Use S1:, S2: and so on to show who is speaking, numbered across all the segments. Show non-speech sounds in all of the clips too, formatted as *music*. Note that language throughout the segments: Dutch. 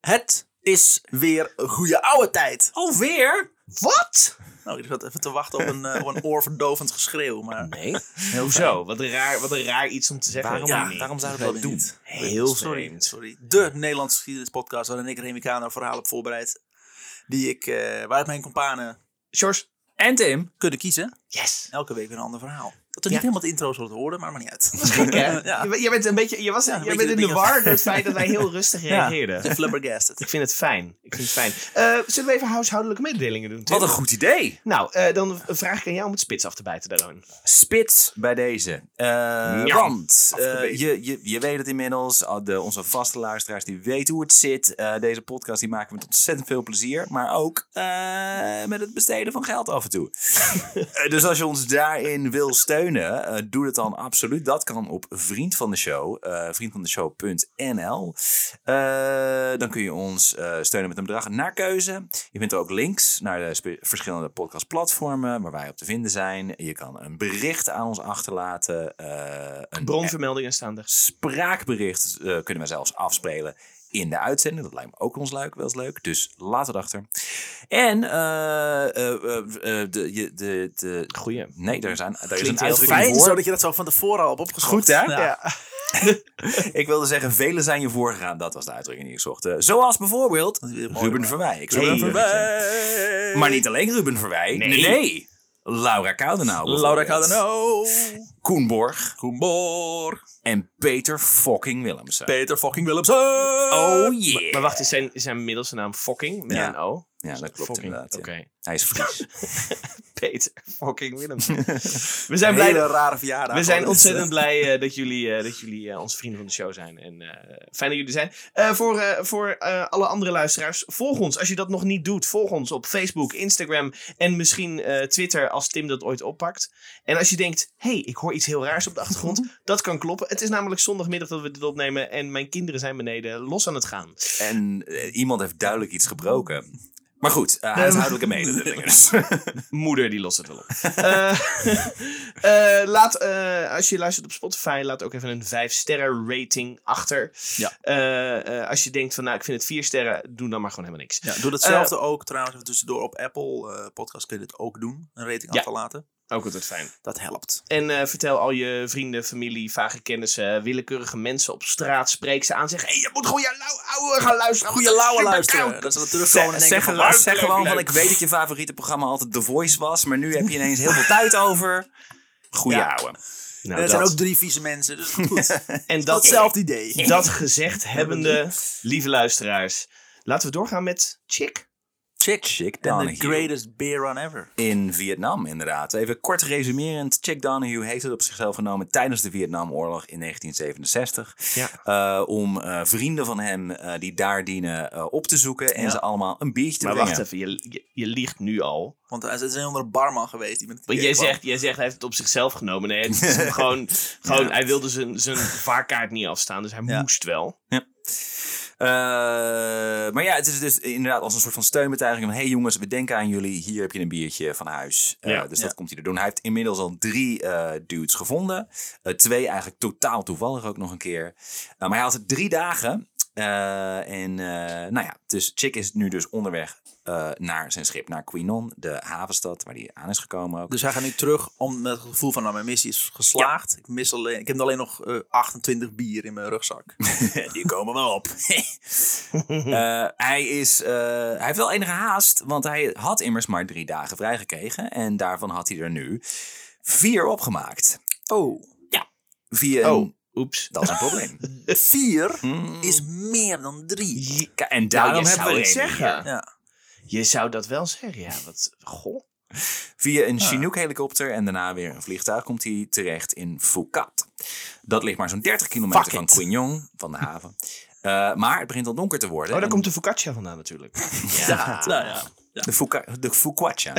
S1: Het is weer een goede oude tijd.
S2: Alweer?
S1: Wat? Nou, ik zat even te wachten op een, eh, op een oorverdovend geschreeuw, maar...
S2: Nee.
S3: Hoezo? Wat een, raar, wat een raar iets om te zeggen.
S2: Waarom,
S3: ja,
S1: niet?
S2: waarom zouden we dat doen?
S1: Niet.
S3: Heel
S1: sorry,
S3: vreemd.
S1: sorry. De Nederlandse geschiedenis podcast waarin ik Remicano een verhaal heb voorbereid. Die ik, eh waar mijn companen
S3: George.
S2: En Tim?
S1: kunnen kiezen.
S3: Yes.
S1: Elke week weer een ander verhaal. Dat er
S3: Ja.
S1: niet helemaal de intro zullen horen, maar maakt niet uit.
S3: Gek, hè?
S1: *laughs* Ja.
S3: Je, je bent een beetje, je was,
S1: Ja, een
S3: je
S1: beetje
S3: bent in
S1: de
S3: de
S1: dingen-
S3: war door het feit dat wij heel rustig reageerden.
S1: Ja, flabbergasted.
S3: Ik vind het fijn. Ik vind het fijn. Eh, zullen we even huishoudelijke mededelingen doen? Tim?
S2: Wat een goed idee.
S3: Nou, eh, dan vraag ik aan jou om het spits af te bijten, Daron.
S4: spits bij deze. Eh, want eh, je, je, je weet het inmiddels, al de, onze vaste luisteraars die weten hoe het zit. Eh, deze podcast die maken we met ontzettend veel plezier, maar ook eh, met het besteden van geld af en toe. Eh, dus als je ons daarin wil steunen, eh, doe dat dan absoluut. Dat kan op Vriend van de Show, eh, vriendvandeshow.nl. Eh, dan kun je ons eh, steunen met een bedrag naar keuze. Je vindt ook links naar de spe- verschillende podcastplatformen waar wij op te vinden zijn. Je kan een bericht aan ons achterlaten. eh, een
S3: Bronvermeldingen staan er.
S4: spraakbericht eh, kunnen wij zelfs afspelen in de uitzending. Dat lijkt me ook ons leuk, wel eens leuk. Dus laat het achter. En eh, eh, eh, eh, de, je- de, de,
S3: Goeie.
S4: Nee, daar is een, daar is een
S3: Klinkt heel
S4: uitdrukking
S1: Fijn
S4: voor.
S1: *laughs* zo dat je dat zo van tevoren al hebt opgeschreven.
S4: Goed, hè?
S1: Ja.
S4: Ik wilde zeggen, velen zijn je voorgegaan. Dat was de uitdrukking die ik zocht. Eh, zoals bijvoorbeeld Ruben Verwij. Ik zoek
S3: Hey,
S4: een
S3: Ruben.
S4: Verwij. Maar niet alleen Ruben Verwij.
S3: Nee.
S4: Nee. nee. Laura Koudenau.
S1: Laura
S4: bijvoorbeeld.
S1: Cardano.
S4: Koen Borg.
S1: Goedemorgen.
S4: En Peter fucking Willemsen.
S1: Peter fucking Willemsen.
S4: oh yeah.
S3: Maar wacht, is zijn, is zijn middelste naam Fokking? Met
S4: Ja.
S3: een O?
S4: Ja, dat klopt
S3: Fokking.
S4: inderdaad.
S3: Oké.
S4: ja. Hij is Fries.
S3: Peter Fokking Willem. We zijn
S1: Een
S3: blij
S1: hele rare verjaardag.
S3: We zijn ontzettend blij eh, dat jullie, eh, dat jullie eh, onze vrienden van de show zijn. En eh, fijn dat jullie er zijn. Eh, voor eh, voor eh, alle andere luisteraars, volg ons. Als je dat nog niet doet, volg ons op Facebook, Instagram en misschien eh, Twitter als Tim dat ooit oppakt. En als je denkt, hé, hey, ik hoor iets heel raars op de achtergrond. dat kan kloppen. Het is namelijk zondagmiddag dat we dit opnemen en mijn kinderen zijn beneden los aan het gaan.
S4: en eh, iemand heeft duidelijk iets gebroken. Maar goed, eh, huishoudelijke mededelingen. dus. *laughs*
S3: Moeder, die lost het wel op. *laughs* Eh, eh, laat, eh, als je luistert op Spotify, laat ook even een 5-sterren rating achter.
S1: Ja.
S3: Eh, eh, als je denkt van, nou, ik vind het 4 sterren, doe dan maar gewoon helemaal niks.
S1: Ja, doe datzelfde ook trouwens even tussendoor op Apple eh podcast kun je dit ook doen. Een rating
S3: Ja.
S1: achterlaten.
S3: Ook altijd fijn.
S1: Dat helpt.
S3: En eh, vertel al je vrienden, familie, vage kennissen, willekeurige mensen op straat. Spreek ze aan, zeg, hey, je moet gewoon je lau- ouwe gaan luisteren.
S1: Goeie lauwe
S3: Superkoud.
S1: luisteren. Dat ze dat terugkomen en
S4: Zeg,
S1: denken
S4: zeg,
S1: van,
S4: gewoon-
S1: "Leuk,
S4: zeg
S1: leuk,
S4: gewoon
S1: leuk."
S4: van, nou, ik weet dat je favoriete programma altijd The Voice was, maar nu heb je ineens heel veel *laughs* tijd over. Goeie
S1: Ja.
S4: ouwe.
S3: Nou,
S1: En er
S3: dat.
S1: zijn ook drie vieze mensen, dus goed.
S3: en dat,
S1: Datzelfde idee.
S3: dat gezegd hebbende, lieve luisteraars, laten we doorgaan met Chick.
S4: Chick, Chick
S1: En the
S4: Donahue.
S1: greatest beer run ever.
S4: In Vietnam, inderdaad. Even kort resumerend. Chick Donahue heeft het op zichzelf genomen tijdens de Vietnamoorlog in 1967. eh, om eh, vrienden van hem eh, die daar dienen eh, op te zoeken en
S1: Ja.
S4: ze allemaal een biertje te
S3: Maar
S4: brengen.
S3: wacht even, je, je, je liegt nu al.
S1: Want hij is een onder barman geweest. Die met het
S3: Want
S1: idee
S3: jij
S1: kwam.
S3: zegt, jij zegt hij heeft het op zichzelf genomen. Nee,
S1: *laughs*
S3: het is hem gewoon, gewoon, hij wilde zijn, zijn vaarkaart niet afstaan, dus hij
S1: Ja.
S3: moest wel.
S4: Eh, maar ja, het is dus inderdaad als een soort van steunbetuiging van... hey jongens, we denken aan jullie. Hier heb je een biertje van huis. Eh,
S3: Ja.
S4: dus
S1: Ja.
S4: dat komt hij er doen. Hij heeft inmiddels al drie eh, dudes gevonden. Eh, twee eigenlijk totaal toevallig ook nog een keer. Eh, maar hij had het drie dagen. Eh, en eh, nou ja, dus Chick is nu dus onderweg eh, naar zijn schip. Naar Quinon, de havenstad waar hij aan is gekomen ook.
S1: Dus hij gaat nu terug om met het gevoel van, nou, mijn missie is geslaagd. Ik, mis alleen, ik heb alleen nog eh, 28 bier in mijn rugzak.
S4: Die komen wel op. Eh, hij, is, eh, hij heeft wel enige haast, want hij had immers maar drie dagen vrijgekregen. En daarvan had hij er nu vier opgemaakt.
S1: Oh.
S4: Via een-
S3: Oh. Oeps.
S4: Dat is een probleem.
S1: Vier
S4: Mm.
S1: is meer dan drie.
S4: Ka- en
S3: Nou,
S4: daarom hebben we
S3: het
S4: Remy.
S3: zeggen.
S1: Ja.
S3: Je zou dat wel zeggen, ja. Wat, goh. Oh,
S4: Via een Chinook-helikopter en daarna weer een vliegtuig komt hij terecht in Phuket. Dat ligt maar zo'n 30 kilometer
S1: Fuck
S4: van
S1: it.
S4: Quignon, van de haven. Eh, maar het begint al donker te worden.
S3: Oh, daar
S4: En
S3: komt de focaccia vandaan
S1: *laughs*
S3: natuurlijk.
S1: Ja. Nou ja.
S4: De, Fuka, de
S1: *laughs*
S4: Focaccia.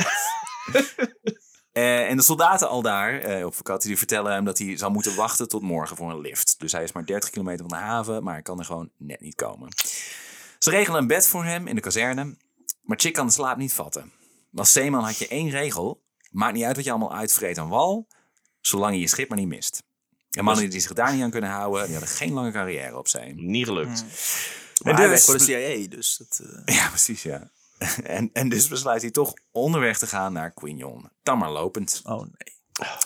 S4: Eh, en de soldaten al daar eh, op vakantie die vertellen hem dat hij zal moeten wachten tot morgen voor een lift. Dus hij is maar 30 kilometer van de haven, maar hij kan er gewoon net niet komen. Ze regelen een bed voor hem in de kazerne, maar Chick kan de slaap niet vatten. Als zeeman had je één regel: maakt niet uit wat je allemaal uitvreet aan wal, zolang je je schip maar niet mist. En mannen die zich daar niet aan kunnen houden, die hadden geen lange carrière op zee.
S3: Niet gelukt.
S1: Maar
S4: En
S1: hij
S4: dus-
S1: werkt voor de CIA, dus dat... eh,
S4: *laughs* Ja, precies, ja. En, en dus besluit hij toch onderweg te gaan naar Quignon. Dan maar lopend.
S1: oh nee.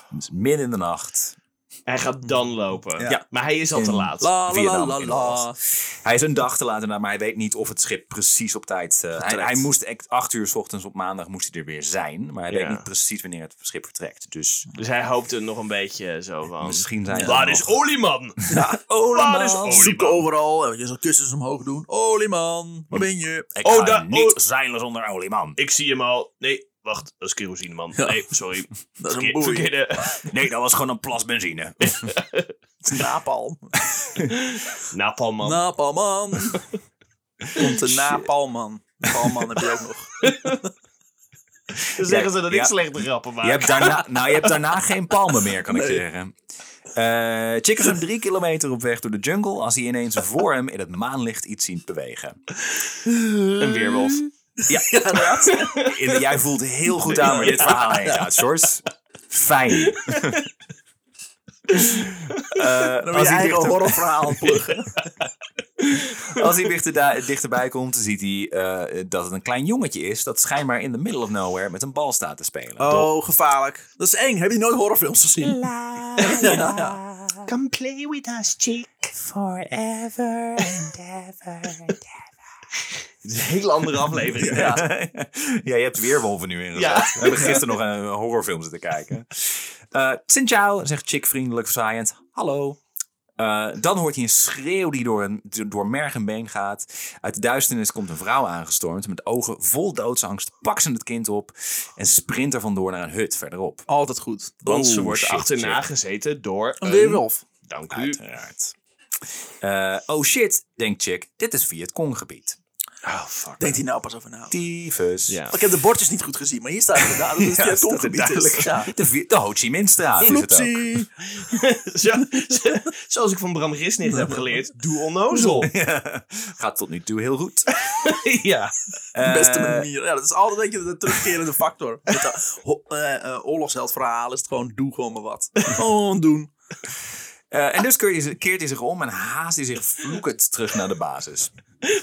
S4: Het is midden in de nacht.
S3: Hij gaat dan lopen.
S1: Ja.
S3: Maar hij is al te
S4: In-
S3: laat.
S1: La la la
S4: Vietnam
S1: la la. *laughs*
S4: inderdaad. Hij is een dag te laat daarna, maar hij weet niet of het schip precies op tijd... eh, hij, hij moest echt acht uur s ochtends op maandag moest hij er weer zijn. Maar hij
S3: Ja.
S4: weet niet precies wanneer het schip vertrekt. Dus
S3: Dus hij hoopte nog een beetje zo van...
S4: misschien zijn ze
S3: Waar
S4: nog-
S3: Oh. is Olieman?
S1: *laughs*
S3: Waar is
S1: Olieman,
S3: Olieman?
S1: zoek overal. En je zal kussens omhoog doen. Olieman, waar ben je?
S4: Ik
S3: Oh,
S4: ga
S3: da-
S4: niet
S3: oh.
S4: zeilen zonder olie, man.
S3: Ik zie hem al. Nee, wacht. Dat is kerosine, man.
S1: Ja.
S3: Nee, sorry.
S1: Dat is *laughs* een
S3: Verkeer-
S1: boei.
S3: Verkeerde. *laughs*
S4: Nee, dat was gewoon een plas benzine.
S1: Napalm.
S3: Napalm, man.
S1: Napalman. *laughs* Komt de napalman. Palman heb je ook *laughs* nog.
S3: Dan zeggen ze dat ik
S4: Ja.
S3: slechte grappen maak.
S4: Je hebt daarna,
S1: *laughs*
S4: nou, je hebt daarna geen palmen meer, kan ik
S1: Nee.
S4: zeggen. Eh Chick is een drie kilometer op weg door de jungle als hij ineens voor hem in het maanlicht iets ziet bewegen.
S3: Een weerwolf.
S4: Ja,
S1: *laughs*
S4: inderdaad. In- Jij voelt heel goed aan waar dit verhaal heen gaat, Sjors. Fijn. Eh,
S1: Dan ben
S4: als
S1: je
S4: hij
S1: eigen
S4: dichter-
S1: horrorverhaal *laughs* aan het pluggen.
S4: Als hij dichter, dichterbij komt, ziet hij eh, dat het een klein jongetje is dat schijnbaar in the middle of nowhere met een bal staat te spelen.
S1: Oh, gevaarlijk. Dat is eng. Heb je nooit horrorfilms gezien? Ja, ja.
S3: Come play with us, chick.
S5: Forever and ever and ever.
S3: Het is een hele andere aflevering.
S4: Ja. ja, je hebt weerwolven nu ingezet.
S3: Ja.
S4: We hebben gisteren nog een horrorfilm zitten kijken. Eh Xin Chao zegt chick vriendelijk verzaaiend. Hallo. Eh, dan hoort hij een schreeuw die door, een, door merg en been gaat. Uit de duisternis komt een vrouw aangestormd met ogen vol doodsangst. Pakt ze het kind op en sprint er vandoor naar een hut verderop.
S1: Altijd goed.
S3: Want
S4: Oh,
S3: ze wordt
S4: shit,
S3: achterna
S4: shit.
S3: gezeten door
S1: Een
S3: een...
S1: weerwolf.
S3: Dank u.
S4: Uiteraard. Eh, oh shit, denkt chick. Dit is Vietconggebied.
S3: Oh, fuck. *laughs*
S1: Denkt hij nou pas over na?
S4: Tyfus.
S3: Ja.
S1: Ik heb de bordjes niet goed gezien, maar hier staat inderdaad
S4: *laughs*
S1: dat het
S4: Ja,
S1: het
S4: staat er
S1: tonggebied is.
S4: duidelijk.
S1: Ja.
S4: De, Vi- de Ho Chi Minh-straat is het ook. Eh,
S1: Floepsie.
S3: Zo- zo- *laughs* zoals ik van Bram Grisnicht heb geleerd, doe onnozel.
S4: *laughs* Gaat tot nu toe heel goed. Eh,
S3: ja.
S1: De *laughs* beste manier. Ja, dat is altijd een beetje de terugkerende
S4: *laughs*
S1: factor. Met dat ho- eh, eh, oorlogsheldverhaal is het gewoon doe gewoon maar wat. Gewoon doen.
S4: Eh, en dus keert hij, zich- keert hij zich om en haast hij zich vloekend terug naar de basis.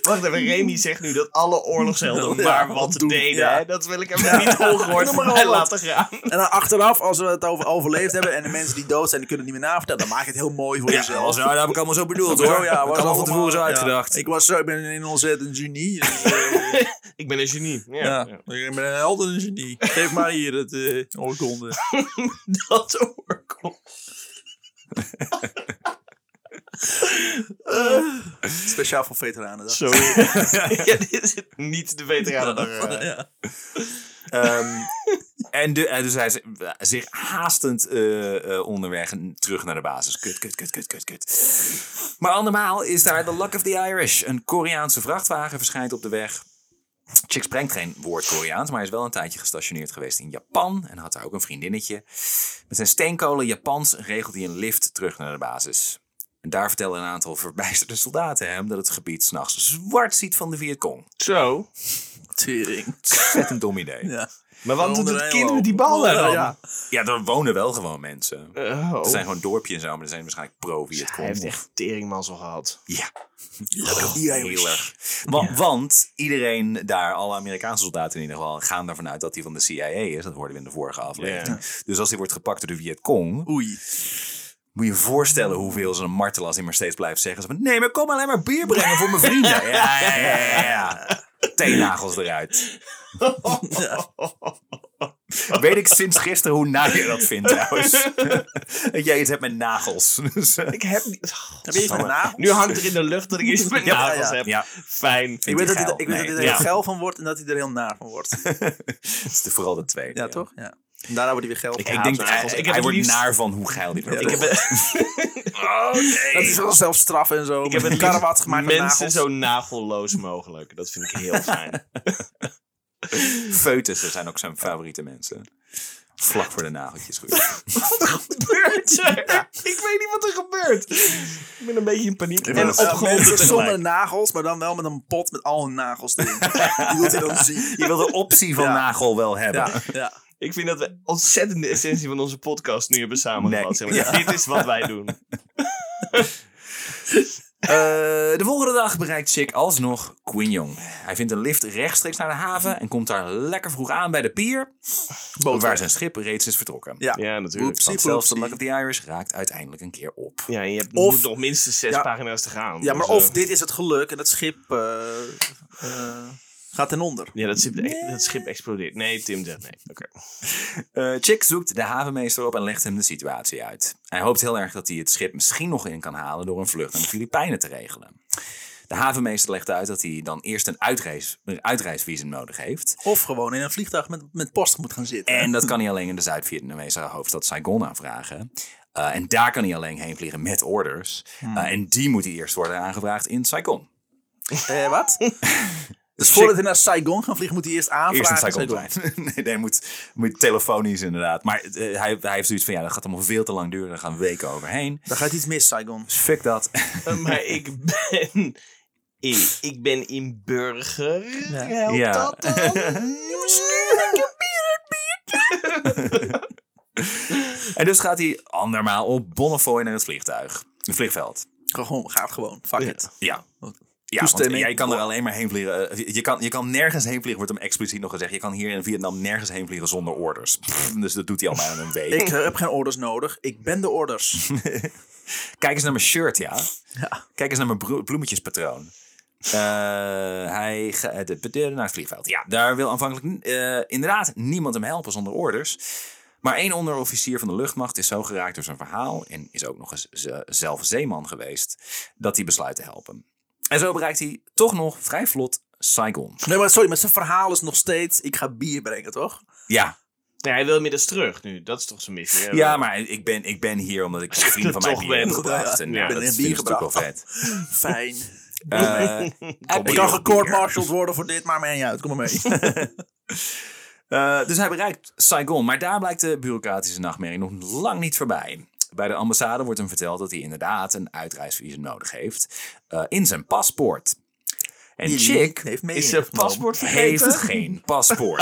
S3: Wacht even, Remy zegt nu dat alle oorlogshelden
S1: Ja,
S3: maar wat
S1: wat doen,
S3: deden.
S1: ja.
S3: hè. Dat wil ik hem niet ongehoord
S1: Doe maar
S3: voorbij
S1: wat.
S3: laten gaan.
S1: En dan achteraf, als we het over overleefd hebben en de mensen die dood zijn, die kunnen het niet meer navertellen, dan maak je het heel mooi voor jezelf.
S4: dat heb ik allemaal zo bedoeld
S1: Zo, *laughs* ja, was
S4: Dat heb ik allemaal van
S1: allemaal-
S4: tevoren zo
S1: ja.
S4: uitgedacht.
S1: Ik, was, zo- ik ben een ontzettend genie. Dus, eh,
S3: Ik ben een genie. Ja.
S1: ja.
S3: ja.
S1: Ik ben altijd een genie. Geef maar hier het eh oorkonde.
S3: Dat oorkop.
S1: Speciaal voor veteranen.
S3: Zo. *laughs* ja, dit is niet de eh. veteranen.
S1: Ja.
S4: Ehm, en de- en dus hij z- zich haastend eh, eh, onderweg en terug naar de basis. Kut, kut, kut, kut, kut, kut. Maar andermaal is daar The Luck of the Irish. Een Koreaanse vrachtwagen verschijnt op de weg. Chick sprengt geen woord Koreaans, maar hij is wel een tijdje gestationeerd geweest in Japan. En had daar ook een vriendinnetje. Met zijn steenkolen Japans regelt hij een lift terug naar de basis. En daar vertellen een aantal verbijsterde soldaten hem dat het gebied s'nachts zwart ziet van de Vietcong.
S3: Zo.
S1: Tering.
S4: Ontzettend dom idee.
S1: Ja.
S3: Maar wat doet
S1: Onder
S3: het
S1: een
S3: kind
S1: loop.
S3: met die bal daar dan?
S1: Ja.
S4: Ja, er wonen wel gewoon mensen.
S3: Oh.
S4: Het zijn gewoon dorpjes en zo, maar er zijn waarschijnlijk
S3: Hij heeft
S4: pro-Vietcong.
S3: echt teringmansel *laughs* gehad.
S4: Ja,
S1: Die
S4: heel erg. Wa- Want iedereen daar, alle Amerikaanse soldaten in ieder geval, gaan ervan uit dat hij van de CIA is. Dat hoorden we in de vorige aflevering. Dus als hij wordt gepakt door de Vietcong,
S1: Oei.
S4: moet je je voorstellen hoeveel zo'n martel als hij maar steeds blijft zeggen. Zo van, nee, maar kom alleen maar bier brengen voor mijn vrienden. Ja, ja, ja, ja. ja. Teennagels eruit. Weet ik sinds gisteren hoe naar je dat vindt trouwens. *laughs* Dat jij iets hebt met nagels. *laughs* Dus, eh,
S3: Ik heb niet...
S1: Heb je iets met nagels?
S3: Nu hangt er in de lucht dat ik iets met
S1: Ja,
S3: nagels
S1: ja.
S3: heb.
S4: *laughs* ja.
S3: Fijn.
S1: Ik weet, dat
S4: geil.
S1: hij, ik weet dat
S4: Nee,
S1: hij er heel
S3: ja.
S1: geil van wordt en dat hij er heel naar van wordt. Ja,
S4: Het is de- vooral de tweede. ja.
S1: toch? Ja. En daarna wordt hij weer geil van.
S3: Ik
S4: ik denk
S3: haat
S4: hij,
S3: nagels. Ik heb
S4: hij
S3: het
S4: wordt
S3: liefst-
S4: naar van hoe geil die wordt.
S1: Ja,
S4: Ik heb-
S1: Dat is wel zelfs straf en zo. Ik
S3: Ik heb het
S1: karawat
S3: liefst
S1: gemaakt
S3: mensen
S1: van nagels.
S3: zo nagelloos mogelijk. Dat vind ik heel fijn.
S4: Foetussen zijn ook zijn favoriete mensen. Vlak voor de nageltjes. Goed.
S3: *laughs* wat gebeurt er? Ik weet niet wat er gebeurt. Ik ben een beetje in paniek. En
S1: Eh, mensen
S3: opgewonden
S1: zonder
S3: tegelijk.
S1: nagels, maar dan wel met een pot met al hun nagels erin. Die wilt hij dan zien.
S4: Je wil de optie van
S1: Ja.
S4: nagel wel hebben.
S1: Ja, ja.
S3: Ik vind dat we ontzettend de essentie van onze podcast nu hebben samengevat.
S4: Nee.
S3: Zeg maar, Dit is wat wij doen.
S4: Eh, de volgende dag bereikt Chick alsnog Quinjong. Hij vindt een lift rechtstreeks naar de haven en komt daar lekker vroeg aan bij de pier, waar zijn schip reeds is vertrokken.
S1: Ja.
S3: Ja, natuurlijk.
S1: Oepsie,
S4: Want zelfs de
S1: poepsie.
S4: Luck of the Irish raakt uiteindelijk een keer op.
S3: Ja, en je hebt,
S1: Of-
S3: moet nog minstens zes
S1: Ja.
S3: pagina's te gaan.
S1: Ja, maar
S3: Dus,
S1: of
S3: eh,
S1: dit is het geluk en het schip eh, eh, gaat ten onder.
S3: Ja, dat schip, dat schip explodeert. Nee, Tim zegt nee. Oké.
S4: Eh, Chick zoekt de havenmeester op en legt hem de situatie uit. Hij hoopt heel erg dat hij het schip misschien nog in kan halen door een vlucht naar de Filipijnen te regelen. De havenmeester legt uit dat hij dan eerst een, uitreis, een uitreisvisum nodig heeft.
S1: Of gewoon in een vliegtuig met, met post moet gaan zitten.
S4: En dat kan hij alleen in de Zuid-Vietnamese hoofdstad Saigon aanvragen. Eh, en daar kan hij alleen heen vliegen met orders.
S1: Hmm.
S4: Eh, en die moet hij eerst worden aangevraagd in Saigon.
S1: Eh, wat? dus
S4: Chick-
S1: voordat hij naar Saigon gaat vliegen, moet hij eerst aanvragen.
S4: Eerst in
S1: in
S4: Saigon
S1: Saigon.
S4: zijn. *laughs* nee, nee, moet, moet telefonisch inderdaad. Maar eh, hij, hij heeft zoiets van, ja, dat gaat allemaal veel te lang duren. Daar gaan weken overheen.
S1: Daar gaat iets mis, Saigon.
S4: Dus fuck dat.
S3: Eh, maar ik ben... Ik, ik ben in burger. Helpt
S4: Ja.
S3: dat dan?
S4: *laughs* En dus gaat hij andermaal op Bonnefoy naar het vliegtuig. Het vliegveld.
S1: Gewoon, gaat gewoon. Fuck it.
S4: Ja. Ja, want
S1: Toestemming.
S4: jij kan er alleen maar heen vliegen. eh, Je kan, je kan nergens heen vliegen, wordt hem expliciet nog gezegd. Je kan hier in Vietnam nergens heen vliegen zonder orders. Pff, dus dat doet hij al bijna een week.
S1: Ik eh, heb geen orders nodig. Ik ben de orders.
S4: Kijk eens naar mijn shirt, ja.
S1: Ja.
S4: Kijk eens naar mijn bro- bloemetjespatroon. Eh, hij gaat de- de- de- naar het vliegveld. Ja, daar wil aanvankelijk eh, inderdaad niemand hem helpen zonder orders. Maar één onderofficier van de luchtmacht is zo geraakt door zijn verhaal... en is ook nog eens ze- zelf zeeman geweest, dat hij besluit te helpen. En zo bereikt hij toch nog vrij vlot Saigon.
S1: Nee, maar sorry, maar zijn verhaal is nog steeds... Ik ga bier brengen, toch?
S4: Ja,
S3: *laughs* Nee, hij wil middags terug nu. Dat is toch zijn missie.
S4: ja maar ik ben, ik ben hier omdat ik vrienden van mij
S3: Toch
S4: bier heb
S3: ben-
S4: gebracht. En
S3: Ja,
S4: ja,
S3: ben
S4: dat
S1: een
S4: vind
S1: bier
S4: ik natuurlijk wel vet.
S1: Fijn.
S4: Eh,
S1: ik kan gecourtmartialed worden voor dit, maar mij niet uit. Kom maar mee.
S4: Eh, dus hij bereikt Saigon, maar daar blijkt de bureaucratische nachtmerrie nog lang niet voorbij. Bij de ambassade wordt hem verteld dat hij inderdaad een uitreisvisum nodig heeft eh, in zijn paspoort. En
S1: Die
S4: Chick
S1: heeft mee
S3: Is zijn
S1: ingenomen.
S3: paspoort vergeten? Oh.
S4: heeft geen
S3: *laughs*
S4: paspoort.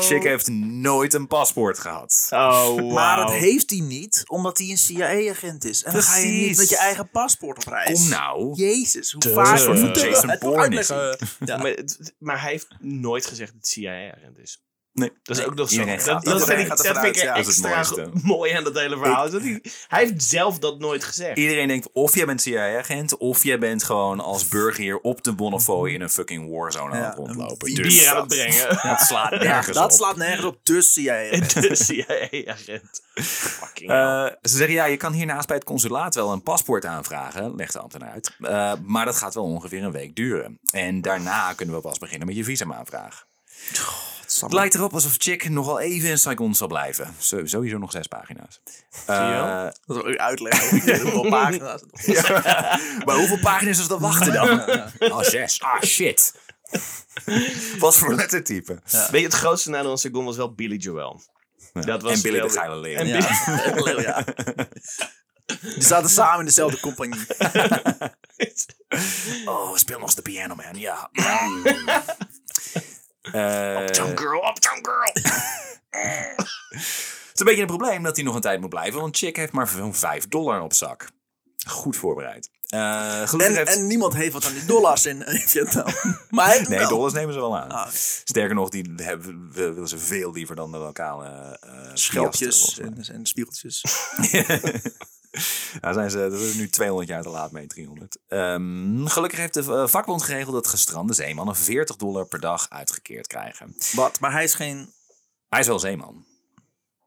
S4: Chick heeft nooit een paspoort gehad.
S3: Oh,
S4: *laughs*
S3: wow.
S1: Maar dat heeft hij niet, omdat hij een CIA-agent is. En dan ga je niet
S4: Precies.
S1: met je eigen paspoort op reis.
S4: Kom nou.
S1: Jezus, hoe vaak
S4: soort van
S1: moet je
S4: Jason
S1: dat
S4: Bourne is
S1: uitleggen? Ja.
S3: Maar, het- maar hij heeft nooit gezegd dat het CIA-agent is.
S4: Nee.
S3: Dat is ook nog zo.
S4: Iedereen
S3: Dat,
S4: gaat
S3: dat
S1: ervan
S3: vind
S1: uit.
S3: ik, dat
S1: Gaat ervan
S3: vind ik
S1: uit,
S3: er
S1: ja.
S4: Dat is het
S3: extra
S4: mooiste.
S3: *laughs* mooi aan dat hele verhaal. is dat hij, hij heeft zelf dat nooit gezegd.
S4: Iedereen denkt of jij bent CIA-agent of jij bent gewoon als burger hier op de Bonnefoy in een fucking warzone aan het
S1: Ja,
S4: rondlopen.
S1: die
S4: Dus
S3: Bier aan
S4: dat,
S3: het
S4: *laughs*
S3: brengen.
S4: dat slaat
S1: Ja,
S4: nergens op.
S1: dat slaat nergens op Dus de CIA.
S3: *laughs* De CIA-agent. Fucking hell.
S4: Eh, ze zeggen, ja, je kan hiernaast bij het consulaat wel een paspoort aanvragen, legt de ambtenaar uit. Eh, maar dat gaat wel ongeveer een week duren. En daarna kunnen we pas beginnen met je visumaanvraag. Het lijkt erop alsof Chick nogal even in Saigon zal blijven. Zo- sowieso nog zes pagina's.
S3: je wel?
S4: Eh,
S1: Dat wil ik uitleggen. Ik weet hoeveel pagina's.
S4: *laughs* maar hoeveel pagina's is dat wachten dan?
S3: *laughs*
S4: Oh, zes. Ah, shit. Wat voor lettertype.
S3: Weet je, het grootste nadeel van Saigon was wel Billy Joel. Dat was
S4: en Billy de
S3: wel-
S4: Geile Leeuw.
S1: Ja. Ja. Die zaten samen in dezelfde
S4: *laughs*
S1: compagnie.
S4: Oh, speel nog eens de piano, man.
S1: *laughs*
S4: Ja. Eh,
S3: Girl, Uptown Girl.
S4: Het is een beetje een probleem dat hij nog een tijd moet blijven, want Chick heeft maar zo'n 5 dollar op zak. Goed voorbereid. Eh, gelukkig
S1: En,
S4: heeft...
S1: en niemand heeft wat aan die dollars in eh, Vietnam. Maar hij heeft hem
S4: Nee,
S1: wel.
S4: dollars nemen ze wel aan.
S1: Ah,
S4: Sterker nog, die hebben, we- willen ze veel liever dan de lokale eh
S1: Schelpjes
S4: piasten, volgens mij.
S1: en, en spiegeltjes.
S4: *laughs* Daar zijn ze dat is nu 200 jaar te laat mee, 300. Ehm, gelukkig heeft de eh, vakbond geregeld dat gestrande zeemannen 40 dollar per dag uitgekeerd krijgen.
S1: Wat? Maar hij is geen...
S4: Hij is wel zeeman.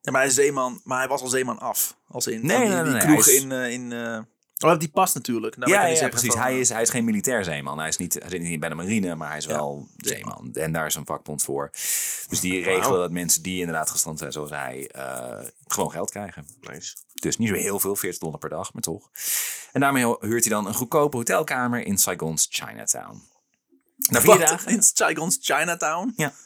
S1: Ja, maar hij is zeeman. Maar hij was al zeeman af. Als in
S4: Nee,
S1: van die,
S4: nee,
S1: die
S4: nee,
S1: kroeg
S4: hij is-
S1: in... eh, in eh, Oh, die past natuurlijk. Daar
S4: ja,
S1: werd
S4: ja,
S1: niet zeggen
S4: precies.
S1: van, eh,
S4: Hij is, hij is geen militair zeeman. Hij, is niet, hij zit niet bij de marine, maar hij is wel zeeman. En daar is een vakbond voor. Dus die regelen dat mensen die inderdaad gestrand zijn zoals hij, eh, gewoon geld krijgen.
S3: Nice.
S4: Dus niet zo heel veel, 40 dollar per dag, maar toch. En daarmee huurt hij dan een goedkope hotelkamer in Saigon's Chinatown. Na vier
S1: Wat?
S4: dagen...
S1: In Saigon's Chinatown?
S4: Ja.
S3: *laughs*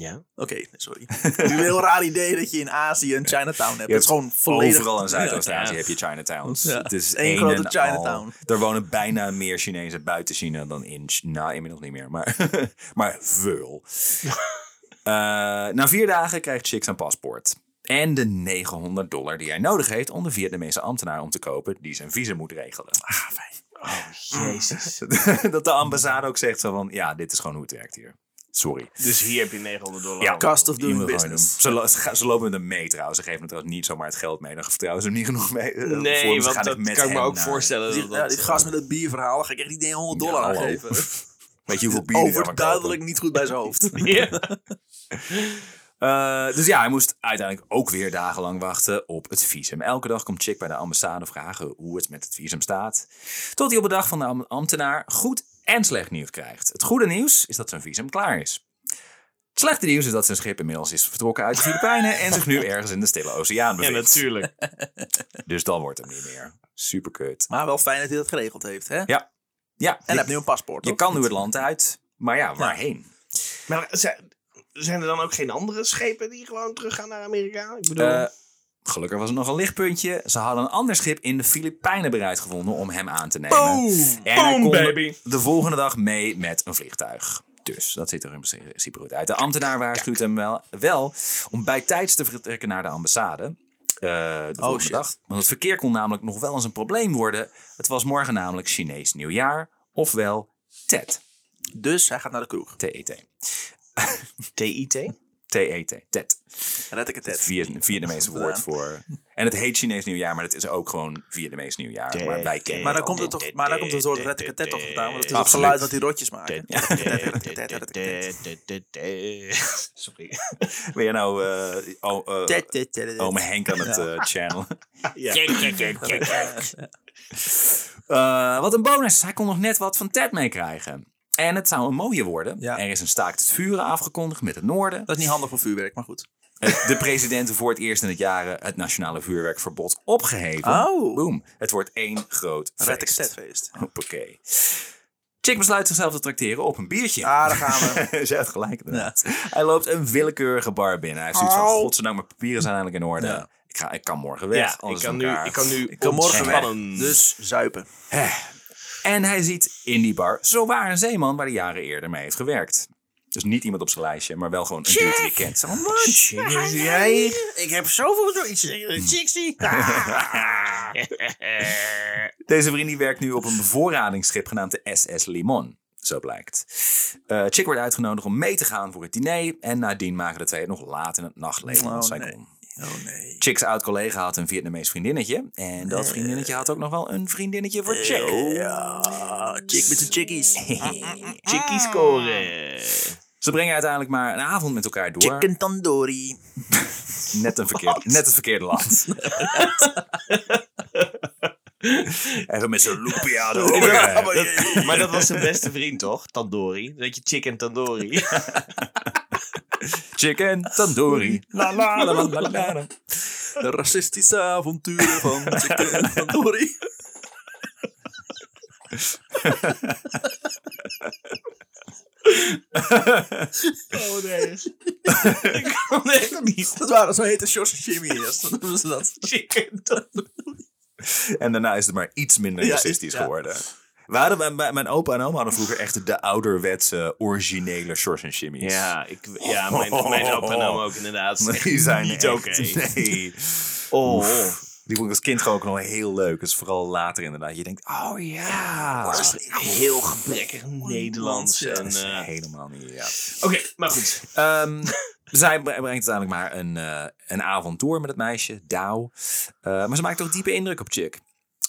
S3: Ja.
S1: Oké,
S4: *laughs*
S1: sorry. Ik vind het een heel raar idee dat je in Azië een Chinatown hebt. het
S4: Je
S1: is
S4: hebt
S1: gewoon volledig...
S4: Overal in Zuidoost-Azië
S3: Ja.
S4: heb je Chinatowns.
S1: Ja.
S4: Het is
S1: Eén
S4: één
S1: grote
S4: en al.
S1: Chinatown.
S4: Er wonen bijna meer Chinezen buiten China dan in China. Nou, inmiddels niet meer, maar, *laughs* maar
S1: *laughs*
S4: veel. Eh, na vier dagen krijgt Chick zijn paspoort. En de
S1: Ah,
S4: 900 dollar die hij nodig heeft om de Vietnamese ambtenaar om te kopen die zijn visum moet regelen.
S3: Oh, *laughs* Jezus.
S4: *laughs* dat de ambassade ook zegt zo van, ja, dit is gewoon hoe het werkt hier. Sorry.
S3: Dus hier heb je 900 dollar.
S4: Ja,
S1: Cost of
S4: Je
S1: doing
S4: moet gewoon
S1: business.
S4: doen. Ze, lo- ze, ga- ze lopen met hem mee trouwens. Ze geven hem trouwens niet zomaar het geld mee. Dan vertrouwen ze hem niet genoeg mee. eh, voor hem.
S3: Nee,
S4: Ze
S3: want
S4: gaan
S3: dat
S4: echt met
S3: kan ik me
S4: hem
S3: ook
S4: naar-
S3: voorstellen.
S1: Die,
S3: Dat,
S1: ja,
S3: dat,
S1: die gast met het bierverhaal, dan ga ik echt niet 100 dollar
S4: Ja,
S1: aan
S4: hallo.
S1: geven.
S4: *laughs* Weet je hoeveel bier die daar maar
S1: Overduidelijk niet goed bij zijn hoofd.
S3: *laughs* Ja.
S4: Eh, dus ja, hij moest uiteindelijk ook weer dagenlang wachten op het visum. Elke dag komt Chick bij de ambassade vragen hoe het met het visum staat. Tot hij op de dag van de am- ambtenaar goed en slecht nieuws krijgt. Het goede nieuws is dat zijn visum klaar is. Het slechte nieuws is dat zijn schip inmiddels is vertrokken uit de Filipijnen en zich nu ergens in de Stille Oceaan
S3: ja,
S4: bevindt.
S3: natuurlijk.
S4: dus dan wordt hem niet meer. Super kut.
S1: Maar wel fijn dat hij dat geregeld heeft, hè? En
S4: Ja,
S1: hij
S4: je,
S1: heeft nu een paspoort.
S4: je
S1: toch?
S4: kan nu het land uit, maar ja,
S3: Nou,
S4: waarheen?
S3: Maar zijn, zijn er dan ook geen andere schepen die gewoon teruggaan naar Amerika? Ik bedoel...
S4: Eh, gelukkig was het nog een lichtpuntje. Ze hadden een ander schip in de Filipijnen bereid gevonden om hem aan te nemen.
S3: Oh,
S4: En hij
S3: eh, Boom,
S4: kon
S3: *laughs* baby.
S4: de volgende dag mee met een vliegtuig. Dus dat ziet er in principe goed uit. De ambtenaar waarschuwt hem wel, wel om bij tijds te vertrekken naar de ambassade. eh,
S3: Oh,
S4: de volgende
S1: shit.
S4: dag. Want het verkeer kon namelijk nog wel eens een probleem worden. Het was morgen namelijk Chinees nieuwjaar, ofwel TET.
S1: Dus hij gaat naar de kroeg.
S4: T-E-T.
S1: E
S4: E
S3: TIT?
S4: T-E-T. TET.
S1: Red ik het
S4: Het
S1: net.
S4: Viet- Vietnamese woord voor. En het heet Chinees nieuwjaar, maar het is ook gewoon Vietnamees nieuwjaar. Maar wij kennen
S1: E Maar
S4: het
S1: dan komt het toch, maar dan komt het woord retteketet toch vandaan. Want het is het
S4: Absoluut.
S1: geluid dat die rotjes maken.
S3: Sorry.
S4: Wil jij nou eh oh,
S1: E
S4: eh ome Henk aan het eh,
S1: *laughs*
S4: channelen? Eh, wat een bonus. Hij kon nog net wat van Ted meekrijgen. En het zou een mooie worden.
S1: Ja.
S4: Er is een staakt het vuren afgekondigd met het
S1: *laughs*
S4: noorden.
S1: Dat is niet handig voor vuurwerk, maar goed.
S4: Het- De presidenten voor het eerst in het jaren het nationale vuurwerkverbod opgeheven.
S1: Oh.
S4: Boom. Het wordt één groot
S3: Oh,
S4: feest.
S1: Retteketetfeest.
S4: Hoppakee. Chick besluit zichzelf te tracteren op een biertje.
S1: Ah, daar gaan we.
S4: *laughs* Ze heeft gelijk inderdaad. Hij loopt een willekeurige bar binnen. Hij heeft zoiets van,
S1: Au.
S4: godzijdank, mijn papieren zijn eigenlijk in orde. Ik, ga, ik kan morgen weg.
S3: Ja, ik
S4: alles
S3: kan,
S4: door
S3: nu,
S4: elkaar.
S3: ik kan nu ik
S1: Kom morgen
S3: ontspannen.
S1: weg. Dus zuipen.
S4: En hij ziet in die bar zowaar een zeeman waar hij jaren eerder mee heeft gewerkt. Dus niet iemand op zijn lijstje, maar wel gewoon een dude die hij kent. Zo van, "Wat?"
S1: Ik heb zoveel zoiets. Chixie.
S4: *laughs* Deze vriend die werkt nu op een bevoorradingsschip genaamd de SS Limon. Zo blijkt. Eh, Chick wordt uitgenodigd om mee te gaan voor het diner. En nadien maken de twee het nog laat in het nachtleven.
S1: Oh,
S4: want zij
S1: nee.
S4: kon
S1: Oh nee.
S4: Chick's oud-collega had een Vietnamees vriendinnetje. En dat vriendinnetje had ook nog wel een vriendinnetje voor Chick.
S1: Ja, chick met de chickies.
S3: Chickie scoren.
S4: *laughs* Ze brengen uiteindelijk maar een avond met elkaar door.
S1: Chicken tandoori.
S4: Net, een verkeerd, net het verkeerde *laughs* land. Even met zo'n loepia
S3: *laughs*
S4: erover.
S1: Dat-
S3: Maar dat was zijn beste vriend, toch? Tandoori. Dat je chicken tandoori. *laughs*
S4: Chicken tandoori. La la la *laughs* la la la.
S1: De racistische avonturen *laughs* van chicken tandoori.
S3: Oh nee. ik kan echt niet.
S1: Dat waren zo hete Sjors en Jimmy eerst. *laughs* Dan noemen ze dat.
S3: Chicken tandoori.
S4: *laughs* En daarna is het maar iets minder
S1: Ja,
S4: racistisch
S1: ja.
S4: geworden. We hadden, bij- bij- mijn opa en oma hadden vroeger echt de ouderwetse, originele shorts en shimmies.
S3: Ja, ik, ja mijn, mijn opa en oma ook inderdaad.
S4: *laughs* Die zijn
S3: niet
S4: echt-
S3: oké.
S4: *laughs* Nee.
S3: Oh.
S4: Die vond ik als kind gewoon ook nog heel leuk. Dat is vooral later inderdaad. Je denkt, oh ja.
S3: Dat is heel gebrekkig Nederlands.
S1: Ja,
S3: En,
S4: Dat is
S3: eh,
S4: helemaal niet, ja.
S3: Oké, maar goed.
S4: Ehm, *laughs* zij bre- brengt uiteindelijk maar een, eh een avond door met het meisje, Dao. Eh, maar ze maakt toch diepe indruk op Chick.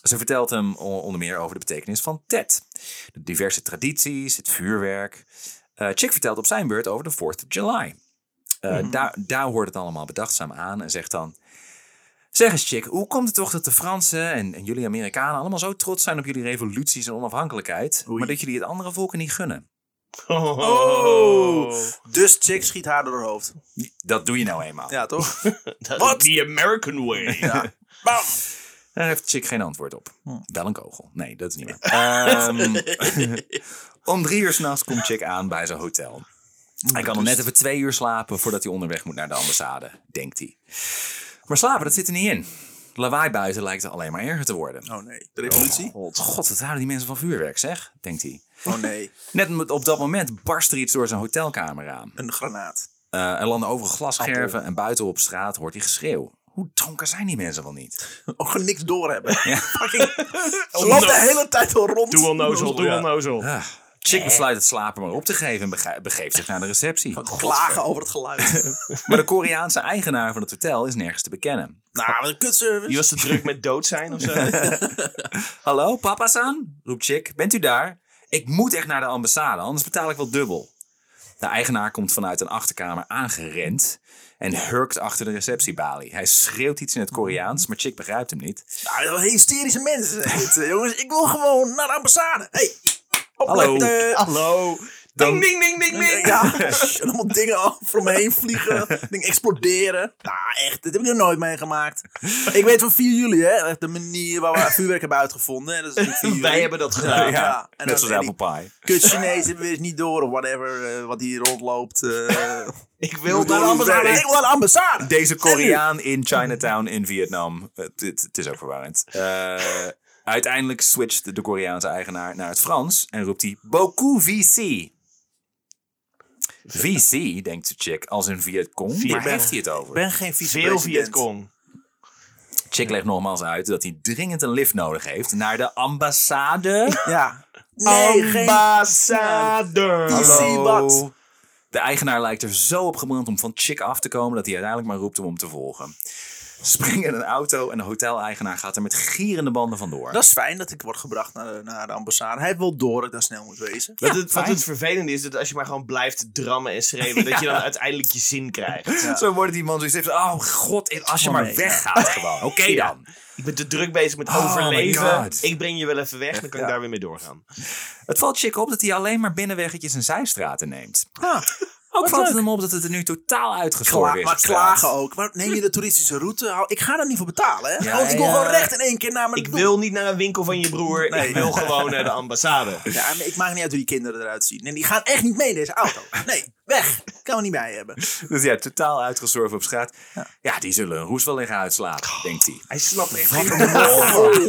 S4: Ze vertelt hem o- onder meer over de betekenis van Tet. De diverse tradities, het vuurwerk. Eh, Chick vertelt op zijn beurt over de 4th of July. Eh Da- Dao hoort het allemaal bedachtzaam aan en zegt dan... Zeg eens Chick, hoe komt het toch dat de Fransen en, en jullie Amerikanen... allemaal zo trots zijn op jullie revoluties en onafhankelijkheid... maar dat jullie het andere volken niet gunnen?
S3: Oh.
S4: Oh.
S3: *laughs*
S1: Dus chick schiet haar door haar hoofd.
S4: Dat doe je nou eenmaal.
S1: Ja, toch?
S3: What? The American way. *laughs*
S1: Bam!
S4: Daar heeft Chick geen antwoord op. Wel een kogel. Nee, dat is niet meer. Ehm, om drie uur s'nachts komt Chick aan bij zijn hotel. Hij kan nog net even twee uur slapen voordat hij onderweg moet naar de ambassade, denkt hij. Maar slapen, dat zit er niet in. Lawaai buiten lijkt er alleen maar erger te worden.
S1: Oh nee. De revolutie?
S4: God, god, wat houden die mensen van vuurwerk, zeg, denkt hij.
S1: Oh nee.
S4: Net op dat moment barst er iets door zijn hotelkamer aan.
S1: Een granaat.
S4: Eh, er landen overal glasscherven en buiten op straat hoort hij geschreeuw. Hoe dronken zijn die mensen wel niet?
S1: Ook gewoon niks doorhebben.
S4: Ja.
S1: *laughs* Fucking, ze loopt de hele tijd al rond.
S3: Doe al nozel, doe al nozel.
S4: Ah, chick besluit het slapen maar op te geven en bege- begeeft zich naar de receptie.
S1: Oh, Klagen over het geluid.
S4: Maar de Koreaanse eigenaar van het hotel is nergens te bekennen.
S1: nou, wat een
S3: Je
S1: kutservice.
S3: was te druk met dood zijn of zo.
S4: *laughs* Hallo, papa-san? roept Chick. Bent u daar? Ik moet echt naar de ambassade, anders betaal ik wel dubbel. De eigenaar komt vanuit een achterkamer aangerend en hurkt achter de receptiebalie. Hij schreeuwt iets in het Koreaans, maar Chick begrijpt hem niet.
S1: Nou, wat hysterische mensen. zijn dit, eh, jongens, ik wil gewoon naar de ambassade. Hey,
S4: Hallo.
S1: opletten.
S3: Eh, Hallo. Ding, ding, ding, ding, ding.
S1: Ja, *laughs* en allemaal dingen af om me heen vliegen. Dingen exploderen. Nou, echt, dit heb ik nog nooit meegemaakt. Ik weet van 4 juli, hè. De manier waar we vuurwerk hebben uitgevonden. Hè, dat is natuurlijk *laughs* 4 juli.
S3: Wij hebben dat
S1: Ja,
S3: gedaan.
S1: ja. En dan-
S4: net zoals
S1: en die-
S4: apple pie.
S1: Kut Chinezen hebben weer eens niet door of whatever eh, wat hier rondloopt. *laughs* eh.
S3: Ik wil
S1: Door
S3: daar
S1: de ambassade. Ik wil naar de ambassade.
S4: Deze Koreaan in Chinatown in Vietnam. Het, het- het is ook verwarrend. Eh, *laughs* uiteindelijk switcht de Koreaanse eigenaar naar het Frans en roept hij Boku VC. VC, denkt Chick, als een Vietcong. Waar
S3: Vietcong.
S4: heeft hij het over?
S1: ben geen
S3: Veel Vietcong.
S4: Chick legt nogmaals uit dat hij dringend een lift nodig heeft naar de
S1: *laughs*
S4: ambassade.
S1: Ja. Nee, geen...
S3: Ambassadeur.
S1: Hallo. wat.
S4: De eigenaar lijkt er zo op gebrand om van Chick af te komen dat hij uiteindelijk maar roept om hem te volgen. Springen in een auto en de hoteleigenaar gaat er met gierende banden vandoor.
S1: Dat is fijn dat ik word gebracht naar de, naar de ambassade. Hij heeft wel door dat ik daar snel moet wezen.
S3: Wat het, wat
S4: fijn.
S3: het vervelende is, dat als je maar gewoon blijft drammen en schreeuwen, dat je dan uiteindelijk je zin krijgt.
S4: Zo wordt die man zoiets heeft. Oh god, als je
S1: Oh,
S4: maar
S1: nee,
S4: weggaat gewoon. *laughs* Oké
S3: Ja.
S4: dan.
S3: Ik ben te druk bezig met
S4: Oh my
S3: overleven.
S4: God.
S3: ik breng je wel even weg, dan kan ik daar weer mee doorgaan.
S4: Het valt chick op dat hij alleen maar binnenweggetjes en zijstraten neemt.
S1: Ah,
S4: Ook valt het
S1: leuk.
S4: hem op dat het er nu totaal
S1: Kla-
S4: uitgeschoren is.
S1: maar
S4: de straat. *laughs*
S1: klagen ook. Maar neem je de toeristische route? Hou- Ik ga daar niet voor betalen. Hè?
S4: Ja,
S1: Gewoon, ik wil
S4: ja.
S1: gewoon recht in één keer naar mijn
S3: Ik
S1: doel.
S3: wil niet naar een winkel van je broer. Ik wil gewoon naar de *laughs* ambassade.
S1: Ja, maar ik maak niet uit hoe die kinderen eruit zien. En die gaan echt niet mee in deze auto. Nee, weg. Kan we niet bij hebben.
S4: *laughs* Dus ja, totaal uitgezorven op straat. Ja. die zullen een roes wel liggen uitslapen, denkt hij.
S3: Hij snapt echt
S1: Wat
S3: geen...
S1: een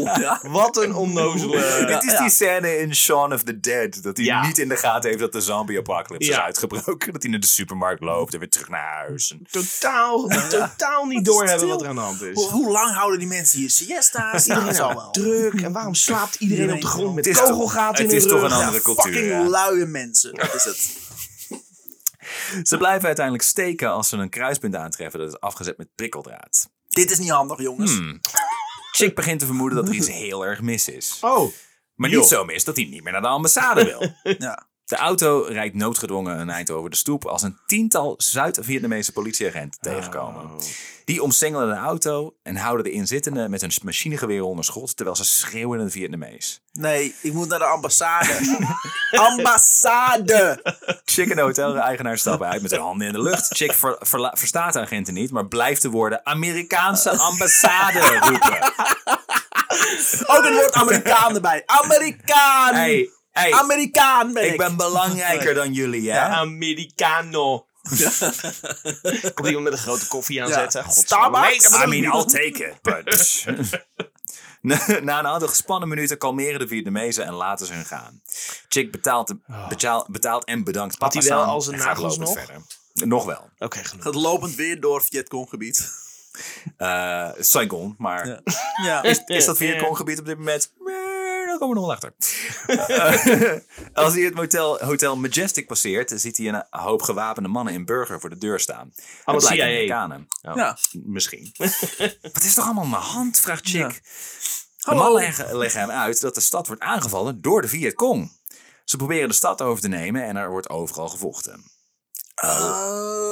S1: lol. Ja.
S3: Wat een onnozele...
S4: Dit is die scène in Shaun of the Dead. Dat hij
S3: Ja.
S4: niet in de gaten heeft dat de zombie-apocalypse is
S3: Ja.
S4: uitgebroken. Dat hij naar de supermarkt loopt en weer terug naar huis. En-
S3: Totaal, totaal niet doorhebben wat er aan de hand
S1: Hoe,
S3: is.
S1: hoe lang houden die mensen hier siesta's? Iedereen zal wel.
S3: Druk. En waarom slaapt iedereen op de grond met
S4: Het is toch,
S3: kogelgaten in
S4: het
S3: de
S4: is toch een
S3: rug?
S4: andere
S1: Ja,
S4: cultuur.
S1: Fucking
S4: ja.
S1: luie mensen. Dat is het.
S4: Ze blijven uiteindelijk steken als ze een kruispunt aantreffen dat is afgezet met prikkeldraad.
S1: Dit is niet handig, jongens.
S4: Hmm. Chick begint te vermoeden dat er iets heel erg mis is.
S3: Oh,
S4: Maar
S3: joh.
S4: niet zo mis dat hij niet meer naar de ambassade wil.
S1: Ja.
S4: De auto rijdt noodgedwongen een eind over de stoep als een tiental Zuid-Vietnamese politieagenten
S3: Oh.
S4: tegenkomen. Die omsingelen de auto en houden de inzittenden met hun machinegeweer onder schot terwijl ze schreeuwen in het Vietnamees.
S1: Nee, ik moet naar de ambassade. *laughs* ambassade!
S4: Chick en de hotel-eigenaar stappen uit met hun handen in de lucht. Chick ver- verla- verstaat de agenten niet, maar blijft de woorden Amerikaanse ambassade roepen.
S1: Ook het woord Amerikaan erbij. Amerikaan!
S4: Hey, hey,
S1: Amerikaan ben ik.
S4: ik ben belangrijker dan jullie, hè?
S3: Americano. *laughs* Komt iemand met een grote koffie aanzetten?
S1: Ja.
S3: Godsamme.
S1: Starbucks?
S3: Nee, dat bedoel
S4: I
S3: ik
S4: mean,
S3: niet.
S4: I'll take it, but... Na *laughs* na een aantal gespannen minuten kalmeren de Vietnamezen en laten ze hun gaan. Chick betaalt, betaalt, betaalt en bedankt papa
S3: hij wel
S4: San
S3: al zijn
S4: en gaat
S3: nagels
S4: lopend
S3: nog?
S4: Verder. Nog wel.
S3: Oké, genoeg.
S1: Gaat lopend weer door Vietconggebied.
S4: Eh, Saigon, maar
S1: Ja.
S4: *laughs* is dat Vietconggebied op dit moment? Eh, Daar komen we nog wel achter. Eh, *laughs* als hij het motel, hotel Majestic passeert, ziet hij een hoop gewapende mannen in burger voor de deur staan. Dat
S3: Allemaal
S4: blijken
S3: CIA.
S4: Amerikanen. Oh,
S1: Ja.
S4: Misschien. Wat is toch allemaal aan de hand, vraagt Chick. De
S1: Hallo.
S4: mannen leggen, leggen hem uit dat de stad wordt aangevallen door de Vietcong. Ze proberen de stad over te nemen en er wordt overal gevochten.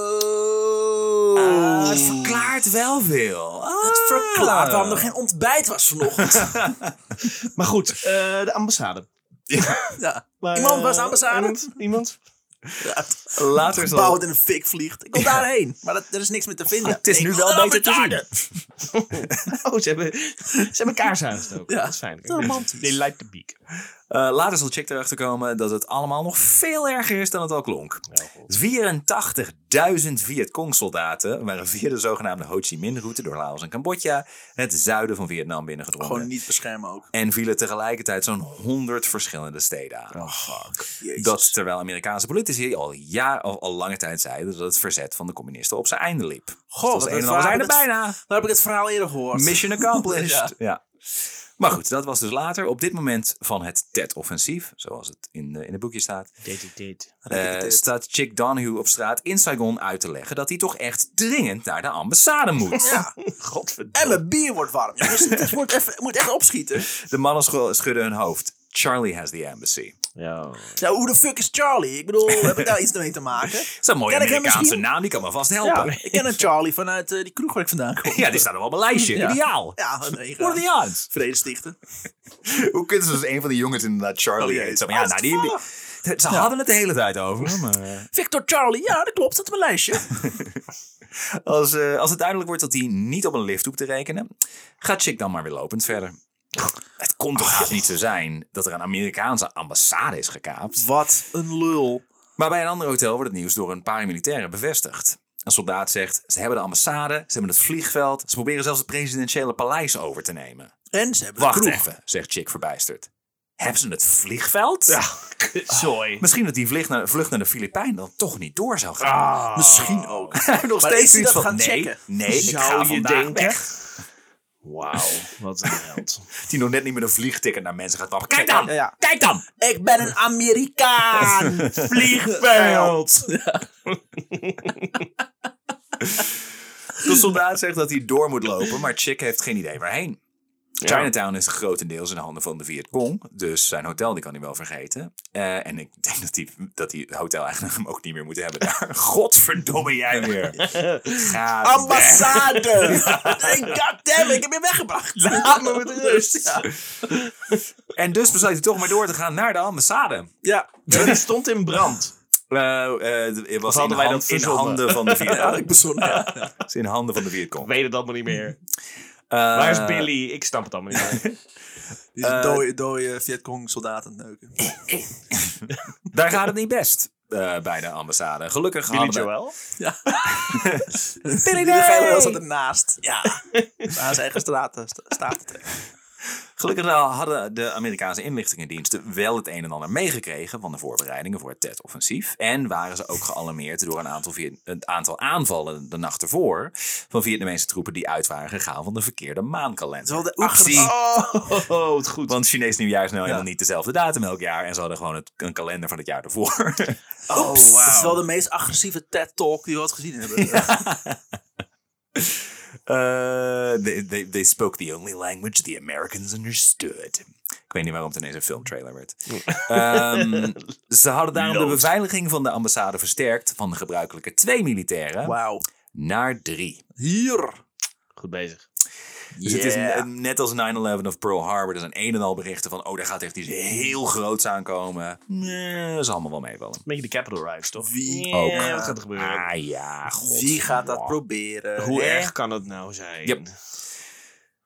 S1: Oh.
S4: Ah, het verklaart wel veel. Ah.
S1: Het verklaart waarom er geen ontbijt was
S4: *laughs*
S1: vanochtend.
S3: Maar goed, eh, de ambassade.
S1: Ja.
S3: Maar,
S1: Iemand was
S3: eh,
S1: ambassade?
S3: Iemand? iemand?
S1: Ja, het
S4: Later
S1: gebouw
S4: zal
S1: dat in een fik vliegt. Ik wil daarheen. Maar dat, er is niks meer te vinden.
S4: het is
S1: Ik
S4: nu
S1: wil
S4: wel
S1: naar
S4: beter te
S1: Amerikaan.
S3: Oh, ze hebben, ze hebben kaarsen aangestoken.
S1: Ja.
S3: Dat is fijn.
S1: Romantisch.
S3: They light the beak.
S4: Eh, later zal Chick erachter komen dat het allemaal nog veel erger is dan het al klonk. 84.000 Viet Cong-soldaten waren via de zogenaamde Ho Chi Minh-route door Laos en Cambodja het zuiden van Vietnam binnengedrongen.
S1: Gewoon niet beschermen ook.
S4: En vielen tegelijkertijd zo'n 100 verschillende steden aan.
S1: Oh, Jezus.
S4: Dat terwijl Amerikaanse politici al, jaar, al, al lange tijd zeiden dat het verzet van de communisten op zijn einde liep. Dus
S1: Goh,
S4: dat
S1: wat
S4: was een
S1: een
S4: en ander zijn er
S1: verhaal.
S4: bijna.
S1: Daar Nou heb ik het verhaal eerder gehoord.
S4: Mission accomplished. *laughs* ja. Maar goed, dat was dus later. Op dit moment van het TET-offensief, zoals het in, de- in het boekje staat,
S3: Dit, dit, dit.
S4: eh, staat Chick Donahue op straat in Saigon uit te leggen dat hij toch echt dringend naar de ambassade moet. *laughs*
S3: Godverdomme.
S1: En mijn bier wordt warm. Jongens, het wordt even, moet echt opschieten.
S4: De mannen scho- schudden hun hoofd. Charlie has the embassy.
S3: Ja.
S1: Nou, hoe de fuck is Charlie? Ik bedoel, heb ik daar iets mee te
S4: *laughs*
S1: maken?
S4: Dat is een mooie
S1: Ken ik hem
S4: Amerikaanse
S1: misschien?
S4: naam, die kan me vast
S1: Ja,
S4: helpen. Ja,
S1: ik ken een Charlie vanuit eh, die kroeg waar ik vandaan
S4: *laughs*
S1: kom.
S4: die staat er wel op een lijstje.
S1: Ja.
S4: Ideaal.
S1: Ja, een regen.
S4: What are the odds?
S1: Vrede stichten.
S4: Hoe kunnen ze dus een van die jongens inderdaad Charlie
S1: Oh, jee.
S4: heet? Zo van, ja, nou, die, die- ze hadden het de hele tijd over. Maar...
S1: Victor Charlie, ja, dat klopt. Dat is mijn lijstje.
S4: Als, eh, als het duidelijk wordt dat hij niet op een lift hoeft te rekenen, gaat Chick dan maar weer lopend verder. Het kon toch haast niet zo zijn dat er een Amerikaanse ambassade is gekaapt.
S1: Wat een lul.
S4: Maar bij een ander hotel wordt het nieuws door een paramilitairen bevestigd. Een soldaat zegt, ze hebben de ambassade, ze hebben het vliegveld, ze proberen zelfs het presidentiële paleis over te nemen.
S1: En ze hebben
S4: Wacht
S1: een kroeg.
S4: even, zegt Chick verbijsterd. Hebben ze het vliegveld?
S3: Sorry.
S4: Misschien dat die vlucht naar, vlucht naar de Filipijnen dan toch niet door zou gaan.
S3: Ah,
S1: Misschien ook.
S4: nog
S1: Maar is hij
S4: zoiets
S1: dat gaan
S4: nee,
S1: checken?
S4: Nee, ik
S3: Zou
S4: ga
S3: je
S4: vandaag
S3: denken?
S4: weg.
S3: Wauw, wat een held.
S4: Die nog net niet met een vliegticket naar mensen gaat wachten. Kijk dan!
S1: Ja, ja.
S4: Kijk dan!
S1: Ik ben een *laughs* Amerikaan.
S3: Vliegveld!
S4: eh, De soldaat zegt dat hij door moet lopen, maar Chick heeft geen idee waarheen. Chinatown is grotendeels in de handen van de Vietcong. Dus zijn hotel die kan hij wel vergeten. Eh, en ik denk dat die, dat die hotel-eigenaar hem ook niet meer moet hebben daar. *laughs* Godverdomme jij weer. Ga weg.
S1: *laughs* Ambassade. God damn, ik heb je weggebracht. Laat me
S3: *laughs*
S1: met rust. Ja.
S4: En dus besluit hij toch maar door te gaan naar de ambassade.
S1: ja.
S3: Die stond in brand.
S4: Eh, eh, het was in,
S3: hadden wij
S4: hand-
S3: dat
S4: in
S3: verzonnen?
S4: handen
S3: *laughs*
S4: van de
S1: Ja,
S4: Vietcong.
S1: ik bezon. Ja. Ja.
S4: Het is in handen van de Vietcong.
S3: Ik weet het allemaal niet meer.
S4: Eh,
S3: Waar is Billy? Ik snap het allemaal niet meer.
S1: Die is een dode, dode Vietcong soldaat aan het neuken.
S4: Daar gaat het niet best eh, bij de ambassade. Gelukkig
S3: Billy
S4: hadden we-
S3: Joel?
S1: Die
S4: Day!
S1: beveiligers zat ernaast. Ja. *laughs* Aan zijn eigen straten sta- staat te trekken.
S4: Gelukkig wel hadden de Amerikaanse inlichtingendiensten wel het een en ander meegekregen van de voorbereidingen voor het TET-offensief. En waren ze ook gealarmeerd door een aantal, Viet- een aantal aanvallen de nacht ervoor van Vietnamese troepen die uit waren gegaan van de verkeerde maankalender.
S1: Terwijl de achter-
S4: Actie.
S3: Oh, oh, het goed.
S4: Want Chinees nieuwjaar is nou helemaal niet dezelfde datum elk jaar. En ze hadden gewoon het, een kalender van het jaar ervoor.
S1: Oh, Dat is wel de meest agressieve TED-talk die we ooit gezien hebben.
S4: Eh, they, they, they spoke the only language the Americans understood. Ik weet niet waarom het ineens een
S1: *laughs*
S4: filmtrailer werd. Ehm, ze hadden daarom de beveiliging van de ambassade versterkt van de gebruikelijke twee militairen
S1: Wauw.
S4: naar drie.
S1: Hier.
S3: Goed bezig.
S4: Dus het is ne- net als 9-11 of Pearl Harbor. Er zijn een en al berichten van, oh, daar gaat echt iets heel groots aankomen. Nee, dat is allemaal wel meevallen.
S3: Een beetje de Capital Rise, toch?
S1: Wie
S3: Ja,
S4: ook.
S3: Wat gaat er gebeuren?
S4: Ah ja, god.
S1: Wie gaat dat
S4: Ja.
S1: proberen?
S3: Hoe
S1: Hè?
S3: erg kan het nou zijn?
S4: Yep.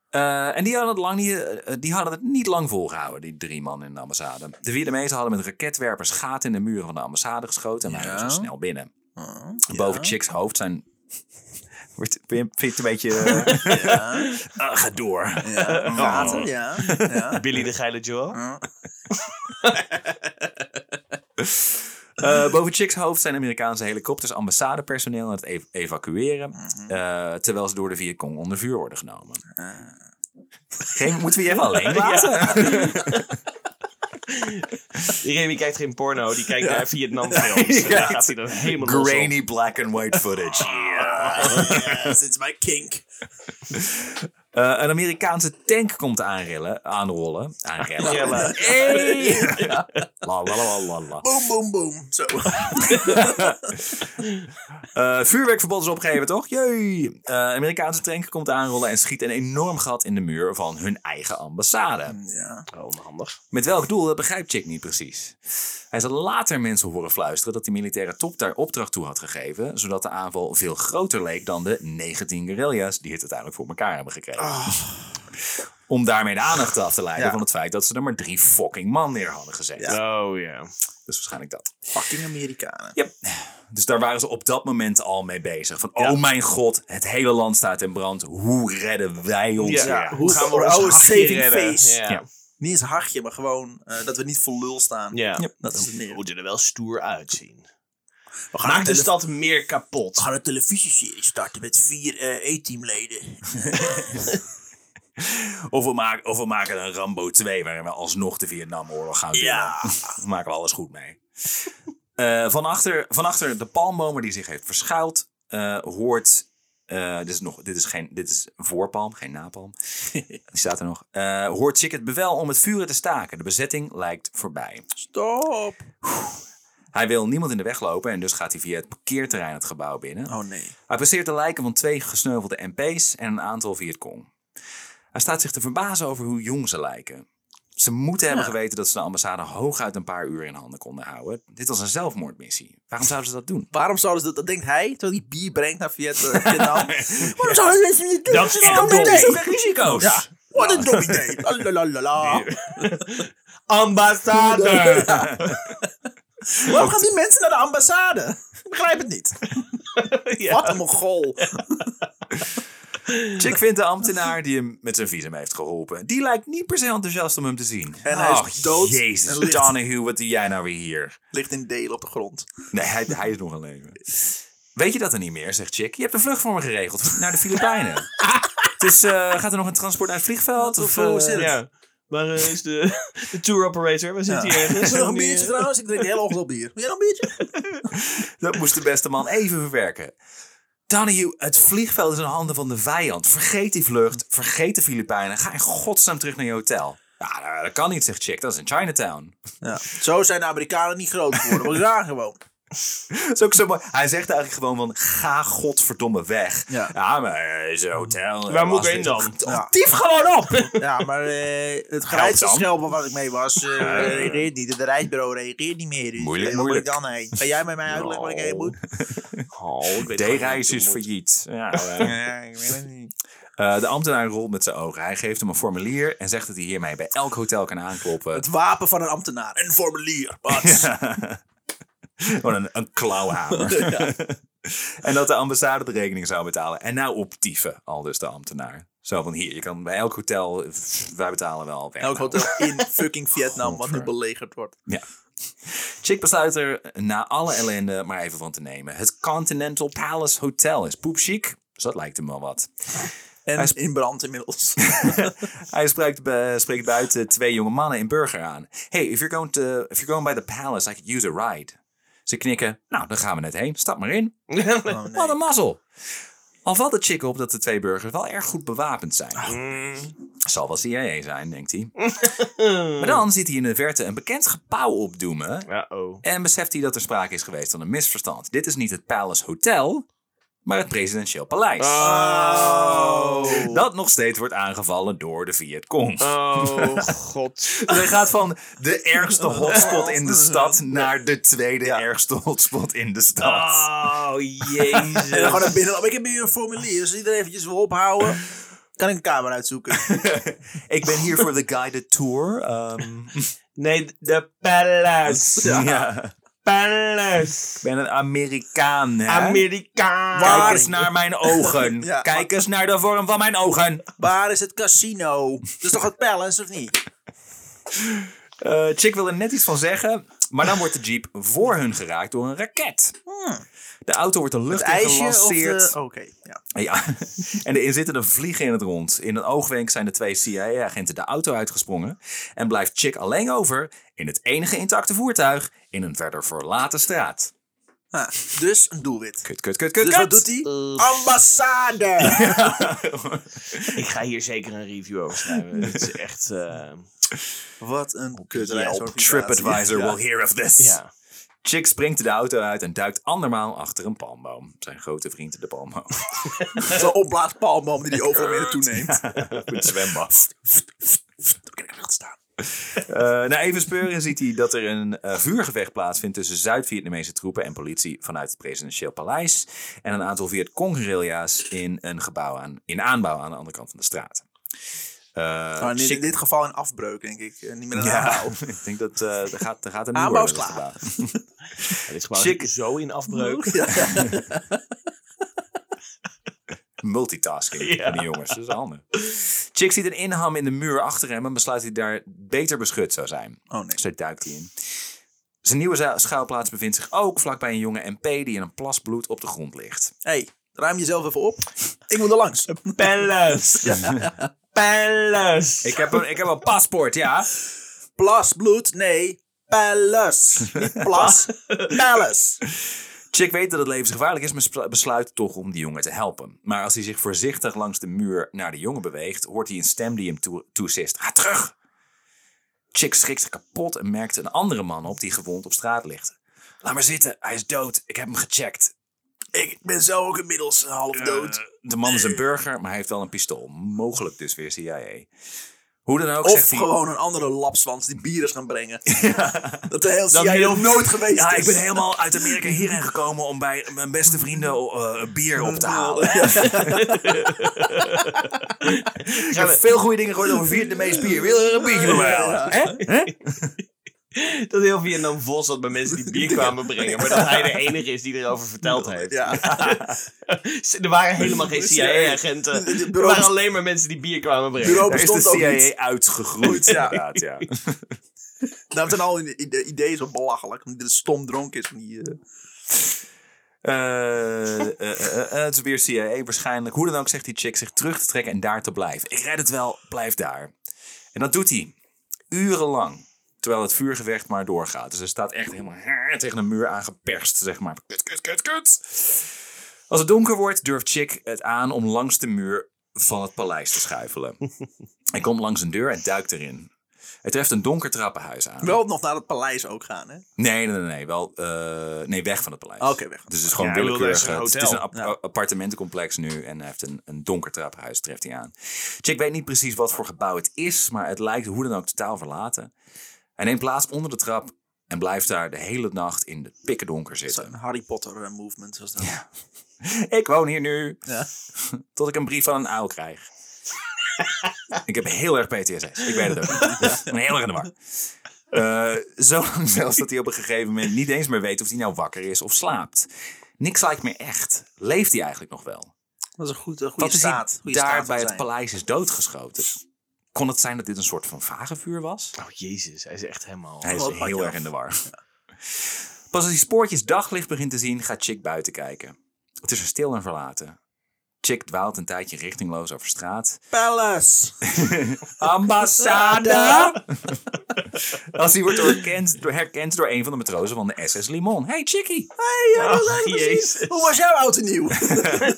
S4: Eh, en die hadden, het lang niet, eh, die hadden het niet lang volgehouden, die drie man in de ambassade. De Vietnamezen hadden met raketwerpers gaten in de muren van de ambassade geschoten en waren
S1: Ja.
S4: zo snel binnen.
S1: Oh,
S4: Boven Chicks hoofd zijn... *laughs* Wordt, vind je het een beetje... eh,
S1: Ja.
S4: *laughs* ah, ga door.
S1: Ja. Oh. Gaten, Eh, ja. *laughs* ja. Oh.
S3: Billy de geile Joel?
S1: Ja.
S4: Eh, boven Chicks hoofd zijn Amerikaanse helikopters ambassadepersoneel aan het ev- evacueren. eh, terwijl ze door de Vietcong onder vuur worden genomen. Geen, moeten we je even *laughs* alleen laten?
S3: Remy kijkt geen porno, die kijkt naar Vietnamfilms. En daar gaat hij dan helemaal los op.
S4: Grainy black and white footage.
S1: Yes, it's my kink.
S4: Eh, een Amerikaanse tank komt aanrillen, aanrollen. Aanrellen.
S3: Rellen.
S4: Hey! La, la, la, la, la.
S1: Boom, boom, boom. Zo.
S4: Eh, vuurwerkverbod is opgegeven, toch? Jee! Eh, een Amerikaanse tank komt aanrollen en schiet een enorm gat in de muur van hun eigen ambassade.
S1: *laughs* Ja.
S3: Oh, onhandig.
S4: Met welk doel, dat begrijpt Chick niet precies. Hij zal later mensen horen fluisteren dat de militaire top daar opdracht toe had gegeven, zodat de aanval veel groter leek dan de 19 guerrilla's die het uiteindelijk voor elkaar hebben gekregen. Om daarmee de aandacht af te leiden
S1: Ah. Ja.
S4: van het feit dat ze er maar drie fucking man neer hadden gezet.
S3: Oh ja.
S4: Dus waarschijnlijk dat.
S1: Fucking Amerikanen.
S4: Dus daar waren ze op dat moment al mee bezig. Van, oh mijn god, het hele land staat in brand. Hoe redden wij ons?
S3: Ja,
S4: weer?
S1: Hoe gaan we ons
S3: oude
S1: hakje
S3: saving
S1: redden?
S3: face.
S1: Ja.
S3: Ja.
S1: Niet eens hachje, maar gewoon eh, dat we niet voor lul staan.
S3: Ja.
S1: Dat is het meer.
S3: We moeten er wel stoer uitzien.
S1: We gaan,
S3: Maak
S1: een
S3: de
S1: tele-
S3: stad meer
S1: we
S3: kapot.
S1: gaan een televisieserie starten met vier eh *laughs* E-teamleden.
S4: Of, we maken, of we maken een Rambo 2 waarin we alsnog de Vietnamoorlog gaan doen.
S1: Ja.
S4: *laughs* Dan maken we alles goed mee. Eh van, achter, van achter de palmbomen die zich heeft verschuild, eh, hoort. eh, dit, is nog, dit, is geen, dit is een voorpalm, geen
S3: *laughs*
S4: napalm. Die staat er nog. Eh, hoort Chick het bevel om het vuren te staken. De bezetting lijkt voorbij.
S1: Stop!
S4: Hij wil niemand in de weg lopen en dus gaat hij via het parkeerterrein het gebouw binnen.
S1: Oh nee.
S4: Hij passeert de lijken van twee gesneuvelde MP's en een aantal Vietcong. Hij staat zich te verbazen over hoe jong ze lijken. Ze moeten hebben geweten dat ze de ambassade hooguit een paar uur in handen konden houden. Dit was een zelfmoordmissie. Waarom zouden ze dat doen?
S1: Waarom zouden ze dat, dat denkt hij, terwijl hij bier brengt naar *laughs* Viet- eh, Vietnam. Waarom zouden mensen niet doen?
S3: Dat is echt
S1: een dom
S3: dom.
S1: idee.
S4: risico's! *laughs*
S1: Ja, wat een dom idee. La, la, la, la.
S3: Ambassade!
S1: Waarom gaan die mensen naar de ambassade? Ik begrijp het *laughs* niet. Wat een mogol.
S4: Chick vindt de ambtenaar die hem met zijn visum heeft geholpen. Die lijkt niet per se enthousiast om hem te zien.
S1: En hij is
S4: Och,
S1: dood en
S4: Jezus,
S1: ligt-
S4: Donahue, wat doe jij nou weer hier?
S1: Ligt in delen op de grond.
S4: Nee, hij, hij is nog aan leven. Weet je dat dan niet meer, zegt Chick. Je hebt een vlucht voor me geregeld naar de
S1: *laughs*
S4: Filipijnen. dus gaat er nog een transport naar het vliegveld? Of,
S1: Of, eh,
S4: eh,
S1: zit het?
S3: Ja. Waar eh, is de, *laughs* de tour operator? We zitten hier
S1: *laughs*
S3: ergens.
S1: Wil je nog een
S3: Die,
S1: biertje
S3: eh,
S1: trouwens? Ik drink de hele ochtend op bier. Wil jij nog een biertje?
S4: dat moest de beste man even verwerken. Donahue, het vliegveld is in handen van de vijand. Vergeet die vlucht, vergeet de Filipijnen. Ga in godsnaam terug naar je hotel. Ja, nou, dat kan niet, zegt Chick. Dat is in Chinatown. *laughs*
S1: Ja. Zo zijn de Amerikanen niet groot geworden. We gaan gewoon.
S4: Dat is ook zo mooi. Hij zegt eigenlijk gewoon van, ga godverdomme weg.
S1: Ja.
S4: maar eh, zijn hotel... eh,
S3: Waar moet ik
S4: lastig.
S3: heen dan?
S1: Ja.
S4: Dief gewoon op!
S1: *laughs* Ja, maar eh, het
S4: dan.
S1: gereidschelp waar ik mee was, eh, reageert niet. Het reisbureau reageert niet meer. Dus,
S4: Moeilijk,
S1: eh, waar
S4: moeilijk.
S1: moet ik dan heen? Ga jij met mij uitleggen waar ik heen moet?
S3: Oh, ik weet
S4: De
S3: gewoon
S4: reis
S3: niet
S4: is
S3: hoe het
S4: failliet. Ja,
S1: *laughs*
S3: *laughs*
S1: Ja, ik weet het niet.
S4: Eh, de ambtenaar rolt met zijn ogen. Hij geeft hem een formulier en zegt dat hij hiermee bij elk hotel kan aankloppen.
S1: Het wapen van een ambtenaar. Een formulier.
S4: *laughs*
S1: Wat?
S4: Gewoon een, een
S1: *laughs*
S4: klauwhamer. en dat de ambassade de rekening zou betalen. En nou optieven, al dus de ambtenaar. Zo van hier, je kan bij elk hotel, pff, wij betalen wel. weg.
S1: Elk hotel in fucking Vietnam wat nu
S4: Godver.
S1: belegerd wordt.
S4: Chick besluit er na alle ellende maar even van te nemen. Het Continental Palace Hotel is poepchic. Dus dat lijkt hem wel wat.
S1: En
S4: Hij is-
S1: in brand inmiddels.
S4: *laughs* Hij spreekt, bu- spreekt buiten twee jonge mannen in burger aan. Hey, if you're going, to, if you're going by the palace, I could use a ride. Ze knikken. Nou, dan gaan we net heen. Stap maar in.
S3: moet.
S1: Oh, nee.
S4: Wat een mazzel. Al valt het chick op dat de twee burgers wel erg goed bewapend zijn.
S3: Ah.
S4: Zal wel CIA zijn, denkt hij.
S3: Mm.
S4: maar dan ziet hij in de verte een bekend gebouw opdoemen.
S3: Uh-oh.
S4: En beseft hij dat er sprake is geweest van een misverstand. Dit is niet het Palace Hotel, maar het presidentieel paleis.
S3: Oh.
S4: Dat nog steeds wordt aangevallen door de Vietcong.
S3: Oh, god.
S4: Dus hij gaat van
S1: *laughs*
S4: de ergste hotspot in de stad naar de tweede ergste hotspot in de stad.
S1: Ah.
S3: Oh,
S1: En dan
S3: jezus.
S1: gewoon naar binnen. lopen. Ik heb hier een formulier. Dus iedereen eventjes wil ophouden. Kan ik een kamer
S4: *laughs*
S1: uitzoeken?
S4: *laughs* Ik ben hier voor de guided tour. ehm, dus,
S3: Nee, de palace.
S4: ja.
S3: Palace.
S4: Ik ben een Amerikaan. Hè?
S3: Amerikaan.
S4: Kijk
S1: Waar-
S4: eens naar mijn
S1: *laughs*
S4: ogen.
S1: Ja.
S4: Kijk eens naar de vorm van mijn ogen.
S1: Waar is het casino? Dat is toch het palace, of niet?
S4: Eh, Chick wil er net iets van zeggen, maar dan wordt de jeep voor hun geraakt door een raket. De auto wordt de
S1: Hmm. Het
S4: lucht in
S1: ijsje of
S4: gelanceerd.
S1: de... Oké, ja.
S4: Ja, *laughs* en de inzittenden vliegen in het rond. In een oogwenk zijn de twee CIA-agenten de auto uitgesprongen. En blijft Chick alleen over in het enige intacte voertuig in een verder verlaten straat.
S1: Ah, dus een doelwit.
S4: Kut, kut, kut, kut,
S1: Dus wat doet hij?
S4: *laughs*
S1: Ambassade!
S4: hij?
S3: Ik ga hier zeker een review over schrijven. Het is echt... eh,
S1: Wat een
S4: Yelp,
S1: kutreisorganisatie.
S4: TripAdvisor
S1: Ja.
S4: will hear of this.
S3: ja.
S4: Chick springt de auto uit en duikt andermaal achter een palmboom. Zijn grote vriend de palmboom.
S1: Zo'n opblaaspalmboom
S4: *laughs*
S1: die die overal weer naartoe neemt.
S4: Met zwembad.
S1: Dan kan ik er wel staan.
S4: Eh, na even speuren ziet hij dat er een eh, vuurgevecht plaatsvindt tussen Zuid-Vietnamese troepen en politie vanuit het presidentieel paleis. En een aantal Vietcong guerrilla's in een gebouw aan, in aanbouw aan de andere kant van de straat. Eh,
S1: Maar in
S4: chic-
S1: dit geval een afbreuk, denk ik. Eh, Niet meer een
S4: ja,
S1: aanbouw.
S4: *laughs* ik denk dat eh er gaat, er gaat een nieuwe
S1: Aanbouw is
S4: worden
S1: klaar.
S4: gedaan.
S3: dit gebouw
S4: Chic.
S3: is zo in afbreuk.
S1: *laughs* Ja.
S4: Multitasking
S3: Ja.
S4: van die jongens, dat is handig. Chick ziet een inham in de muur achter hem en besluit dat hij daar beter beschut zou zijn.
S1: Oh nee.
S4: Zo duikt hij in. Zijn nieuwe za- schuilplaats bevindt zich ook vlakbij een jonge MP die in een plas bloed op de grond ligt.
S1: hey, ruim jezelf even op. Ik moet er langs.
S3: Palace. Palace.
S4: Ik heb een, ik heb een paspoort, ja.
S1: Plas, bloed, nee. Palace. Niet
S4: *laughs*
S1: plas, palace.
S4: Chick weet dat het levensgevaarlijk is, maar spra- besluit toch om die jongen te helpen. Maar als hij zich voorzichtig langs de muur naar de jongen beweegt, hoort hij een stem die hem toe- toesist. Ga terug! Chick schrikt zich kapot en merkt een andere man op die gewond op straat ligt. Laat maar zitten, hij is dood. Ik heb hem gecheckt.
S1: Ik ben zelf ook inmiddels half dood.
S4: Eh, de man is een burger, maar hij heeft wel een pistool. Mogelijk dus weer CIA. Hoe dan ook
S1: Of
S4: zegt hij...
S1: gewoon een andere lapswans die bier is gaan
S4: *laughs*
S1: brengen. Dat de hele
S4: Dat
S1: jij
S4: heel-
S1: nog nooit geweest
S4: Ja,
S1: is.
S4: ik ben helemaal uit Amerika hierheen gekomen om bij mijn beste vrienden eh, een bier op te halen. Ik heb veel goede dingen gehoord over vierde meest bier. Wil je er een biertje bij mij halen? Hè? Hè?
S3: Dat heel Vietnam vol zat bij mensen die bier kwamen brengen. Maar dat hij de enige is die erover verteld heeft.
S1: Ja.
S3: *laughs* Er waren helemaal geen CIA-agenten.
S1: De
S3: Er
S1: bureau-
S3: waren alleen maar mensen die bier kwamen brengen.
S1: Bureau
S4: Daar is de
S1: bestond ook niet.
S4: CIA uitgegroeid,
S1: *laughs* Ja.
S4: inderdaad. Ja. Eh,
S1: Nou, ten al in- in- de idee zo belachelijk. Omdat dit stom dronken is. van Die, eh,
S4: Eh, eh, eh, eh, het is weer CIA waarschijnlijk. Hoe dan ook zegt die chick zich terug te trekken en daar te blijven. Ik red het wel, blijf daar. En dat doet hij. Urenlang. Terwijl het vuurgevecht maar doorgaat. Dus hij staat echt helemaal haar tegen een muur aangeperst, zeg maar. Kut, kut, kut, kut. Als het donker wordt, durft Chick het aan om langs de muur van het paleis te
S1: *laughs*
S4: schuifelen. hij komt langs een deur en duikt erin. Hij treft een donker trappenhuis aan.
S1: wel nog naar het paleis ook gaan, hè?
S4: Nee, nee, nee, nee. Wel, eh, nee, weg van het paleis.
S1: Oké, weg.
S4: Dus het is gewoon
S3: Ja, ik bedoel,
S4: willekeurig.
S3: daar is een
S4: Het is- het is
S3: hotel.
S4: een ap- a- appartementencomplex nu en hij heeft een, een donker traphuis, treft hij aan. Chick weet niet precies wat voor gebouw het is, maar het lijkt hoe dan ook totaal verlaten. Hij neemt plaats onder de trap en blijft daar de hele nacht in de pikken donker zitten.
S1: Zo'n Harry Potter eh, movement was dat.
S4: *laughs* Ik woon hier nu.
S1: Ja.
S4: *laughs* Tot ik een brief van een uil krijg. *laughs* ik heb heel erg PTSS. Ik weet het ook niet. Ik ben heel erg in de war. Eh, zo lang *laughs* zelfs dat hij op een gegeven moment niet eens meer weet of hij nou wakker is of slaapt. Niks lijkt meer echt. Leeft hij eigenlijk nog wel?
S1: Dat is een goed, een goede
S4: Wat is hij
S1: staat. goede
S4: daar
S1: staat van
S4: bij het
S1: zijn.
S4: paleis is doodgeschoten? Kon het zijn dat dit een soort van vagevuur was?
S3: Oh jezus, hij is echt helemaal... Oh,
S4: Hij
S1: Gewoon
S4: is
S1: pak je
S4: heel erg
S1: af.
S4: in de war. *laughs* Pas als hij spoortjes daglicht begint te zien, gaat Chick buiten kijken. Het is er stil en verlaten. Chick dwaalt een tijdje richtingloos over straat.
S1: Palace.
S4: Ambassade! als hij wordt herkend, herkend door een van de matrozen van de SS Limon. Hey Chickie!
S1: Hey, ja, dat was
S3: Ach,
S1: hij precies. Oh,
S3: Jezus.
S1: Hoe was jouw oud en nieuw?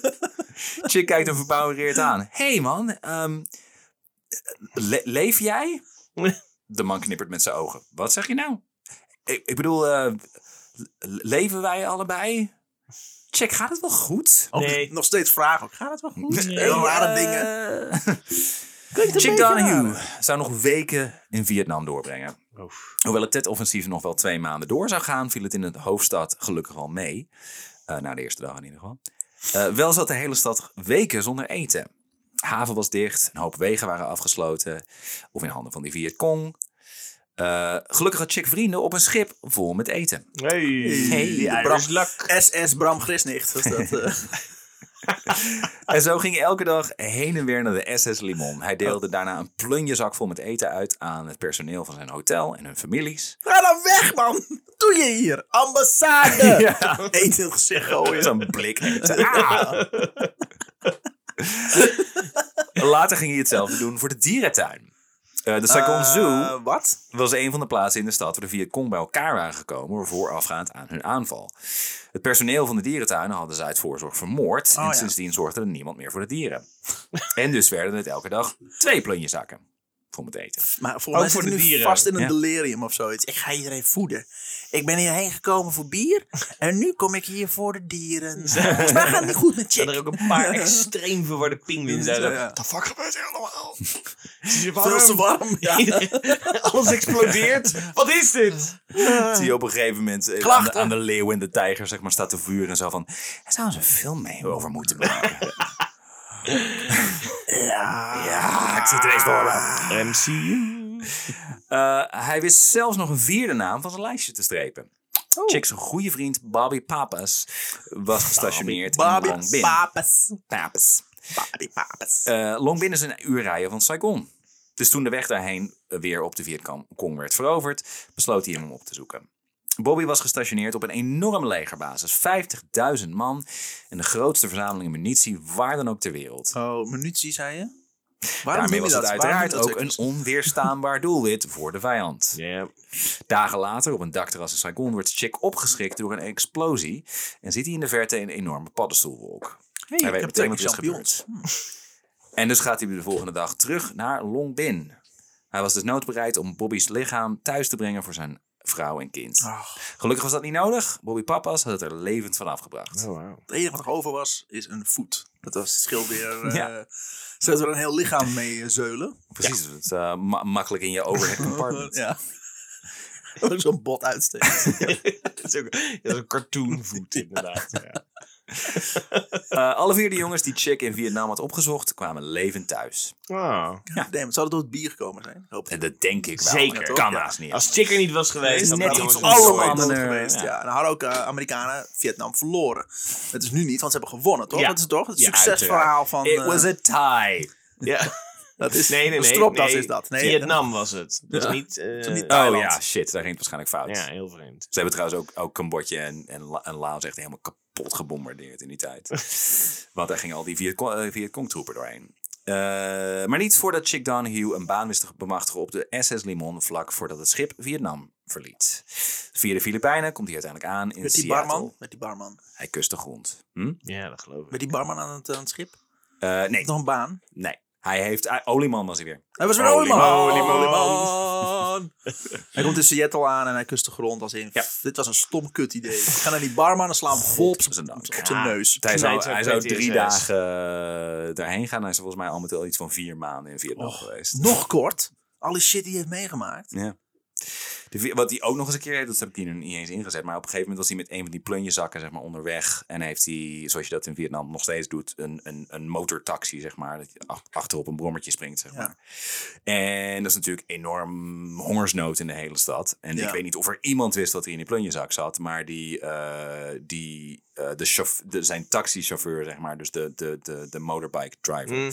S4: *laughs* Chick kijkt hem verbouwereerd aan. Hey man, ehm, le- leef jij? De man knippert met zijn ogen. Wat zeg je nou? Ik, ik bedoel, eh, le- leven wij allebei? Chick, gaat het wel goed?
S3: Nee.
S1: Nog steeds vragen. ook. Gaat het wel goed?
S4: Nee,
S1: Heel rare
S4: eh,
S1: dingen.
S4: Chick Donahue zou nog weken in Vietnam doorbrengen.
S3: Oef.
S4: Hoewel het Tet-offensief nog wel twee maanden door zou gaan, viel het in de hoofdstad gelukkig al mee. Eh, na de eerste dag in ieder geval. Eh, wel zat de hele stad weken zonder eten. Haven was dicht, een hoop wegen waren afgesloten of in handen van die Vietcong. Eh gelukkig had Chick vrienden op een schip vol met eten.
S3: Hey,
S1: Hey,
S3: Irish
S1: Bram.
S3: luck.
S1: SS Bram Grisnicht. Was dat, eh. *laughs*
S4: En zo ging hij elke dag heen en weer naar de SS Limon. Hij deelde daarna een plunjezak vol met eten uit aan het personeel van zijn hotel en hun families.
S1: Ga dan weg, man. Wat doe je hier? Ambassade. Eet in het gezicht gooien.
S4: Zo'n blik
S1: *laughs*
S4: eten. Ah! Later ging hij hetzelfde doen voor de dierentuin. Eh, de Saigon Zoo
S1: Eh, wat?
S4: was een van de plaatsen in de stad waar de Vietcong bij elkaar waren gekomen voorafgaand aan hun aanval. Het personeel van de dierentuin hadden ze uit voorzorg vermoord en
S1: Oh, ja.
S4: sindsdien zorgde er niemand meer voor de dieren. *laughs* en dus werden het elke dag twee plunjezakken voor met eten.
S1: Maar voor
S3: Ook
S1: mij
S3: voor
S1: zit hij
S3: de
S1: nu
S3: dieren.
S1: vast in een
S4: Ja.
S1: delirium of zoiets. Ik ga iedereen voeden. Ik ben hierheen gekomen voor bier. En nu kom ik hier voor de dieren. Volgens mij gaat het niet goed met
S3: Er zijn
S1: Chick.
S3: ook een paar extreem verwarde pinguïns.
S1: Ja,
S3: Wat
S1: ja.
S3: de fuck gebeurt er
S1: *laughs*
S3: allemaal? Het is hier
S1: Veel te
S3: warm.
S1: warm. Ja.
S3: *laughs* Alles explodeert. Wat is dit?
S4: zie je op een gegeven moment eh, aan
S1: Klachten.
S4: de, aan de leeuw en de tijger zeg maar, staat
S1: Ah.
S4: te vuren en zo van... Er zou eens een film mee over moeten maken. Ja, ik zit er eens voor me.
S1: Ah.
S3: MCU.
S4: Eh, hij wist zelfs nog een vierde naam van zijn lijstje te strepen.
S1: Oh.
S4: Chick's goede vriend Bobby Papas was gestationeerd
S1: Bobby
S4: in Long Bin.
S1: Papas.
S4: Papas.
S1: Bobby Papas.
S4: Eh, Long Bin is een uur rijden van Saigon. Dus toen de weg daarheen eh, weer op de Vietcong werd veroverd, besloot hij hem op te zoeken. Bobby was gestationeerd op een enorme legerbasis, 50.000 man en de grootste verzameling munitie waar dan ook ter wereld.
S1: Oh, munitie, zei je? Waarom
S4: Daarmee
S1: doen
S4: was
S1: die
S4: het
S1: dat?
S4: uiteraard
S1: Waarom
S4: ook
S1: doen
S4: een
S1: *laughs* dat?
S4: onweerstaanbaar doelwit voor de vijand.
S3: Ja.
S4: Dagen later, op een dakterras in Saigon, wordt Chick opgeschrikt door een explosie en ziet hij in de verte een enorme paddenstoelwolk. hij weet
S1: heb
S4: meteen wat er is
S1: twee
S4: gebeurd. *laughs* En dus gaat hij de volgende dag terug naar Long Bin. Hij was dus noodbereid om Bobby's lichaam thuis te brengen voor zijn vrouw en kind.
S1: Ah.
S4: Gelukkig was dat niet nodig. Bobby Papas had het er levend van afgebracht.
S3: Oh,
S1: Het enige wat er over was, is een voet. Dat was het scheelt weer. eh
S4: Ja.
S1: Zodat we er een heel lichaam mee eh, zeulen.
S4: Precies, het is, eh, ma- makkelijk in je overhead
S1: *laughs*
S4: compartment.
S1: Ja. Dat ook zo'n bot uitsteekt.
S3: *laughs* dat, is ook, dat is een cartoonvoet, inderdaad. Ja.
S4: Eh, alle vier de jongens die Chick in Vietnam had opgezocht, kwamen levend thuis.
S1: Ah.
S3: Wow.
S1: Damn, zou dat door het bier gekomen zijn? Hoop
S4: En
S1: ik.
S4: dat denk ik wel.
S3: Zeker.
S4: Dat kan haast niet.
S3: Als Chick er niet was geweest,
S4: Net
S3: dan
S4: iets
S3: was het
S4: anders.
S3: allemaal-
S1: allemaal
S4: andere-
S1: geweest.
S4: ja.
S1: Ja. En dan hadden ook eh, Amerikanen Vietnam verloren. Het is nu niet, want ze hebben gewonnen, toch?
S3: Ja.
S1: Dat is toch het
S4: Ja,
S1: succesverhaal van...
S4: It
S1: eh,
S4: was a
S3: *laughs*
S4: tie.
S3: Ja.
S1: dat is,
S3: Nee, nee,
S1: een
S3: nee.
S1: stropdas
S3: nee.
S1: is dat. Nee,
S3: Vietnam was het. Dat is
S1: Ja.
S3: niet... eh,
S1: is niet
S4: Oh
S1: Thailand.
S4: ja, shit, daar ging het waarschijnlijk fout.
S3: ja, heel vreemd.
S4: Ze hebben trouwens ook, ook Cambodja en, en, La- en Laos echt helemaal kapot gebombardeerd in die
S1: *laughs*
S4: tijd. Want daar gingen al die Vietcong- eh, Vietcong-troepen doorheen. Eh, maar niet voordat Chick Donahue een baan wist te bemachtigen op de SS Limon vlak voordat het schip Vietnam verliet. Via de Filipijnen komt hij uiteindelijk aan in
S1: Met die
S4: Seattle.
S1: barman. Met die barman.
S4: Hij kust de grond. Hm?
S3: Ja, dat geloof *laughs* ik.
S1: Met die barman aan het, aan het schip.
S4: Eh, nee,
S1: Nog een baan.
S4: nee. Hij heeft... ah, Olieman was hij weer.
S1: Hij was weer
S4: Holy
S1: Olieman.
S4: moly,
S1: Olieman. Hij komt in Seattle aan en hij kust de grond als in.
S4: Ja.
S1: Dit was een stom kut idee. Ik ga naar die barman en sla hem vol op zijn
S4: dank.
S1: Ah,
S4: Ah,
S1: op zijn
S3: Ja.
S1: neus.
S4: Hij zou,
S3: Knijter
S4: Dus hij zou
S3: PTSS.
S4: drie dagen eh, daarheen gaan. Hij is volgens mij al met al iets van vier maanden in Vietnam geweest.
S1: Nog kort. Al die shit die hij heeft meegemaakt.
S4: Ja. De vi- wat hij ook nog eens een keer heeft, dat heb ik hier nog niet eens ingezet. Maar op een gegeven moment was hij met een van die plunjezakken zeg maar, onderweg. En heeft hij, zoals je dat in Vietnam nog steeds doet, een, een, een motortaxi, zeg maar. Dat je ach- achter op een brommertje springt, zeg
S1: Ja.
S4: maar. En dat is natuurlijk enorm hongersnood in de hele stad. En
S1: Ja.
S4: ik weet niet of er iemand wist dat hij in die plunjezak zat. Maar die, eh, die, eh, de chauff- de, zijn taxichauffeur, zeg maar, dus de, de, de, de motorbike driver,
S1: Mm.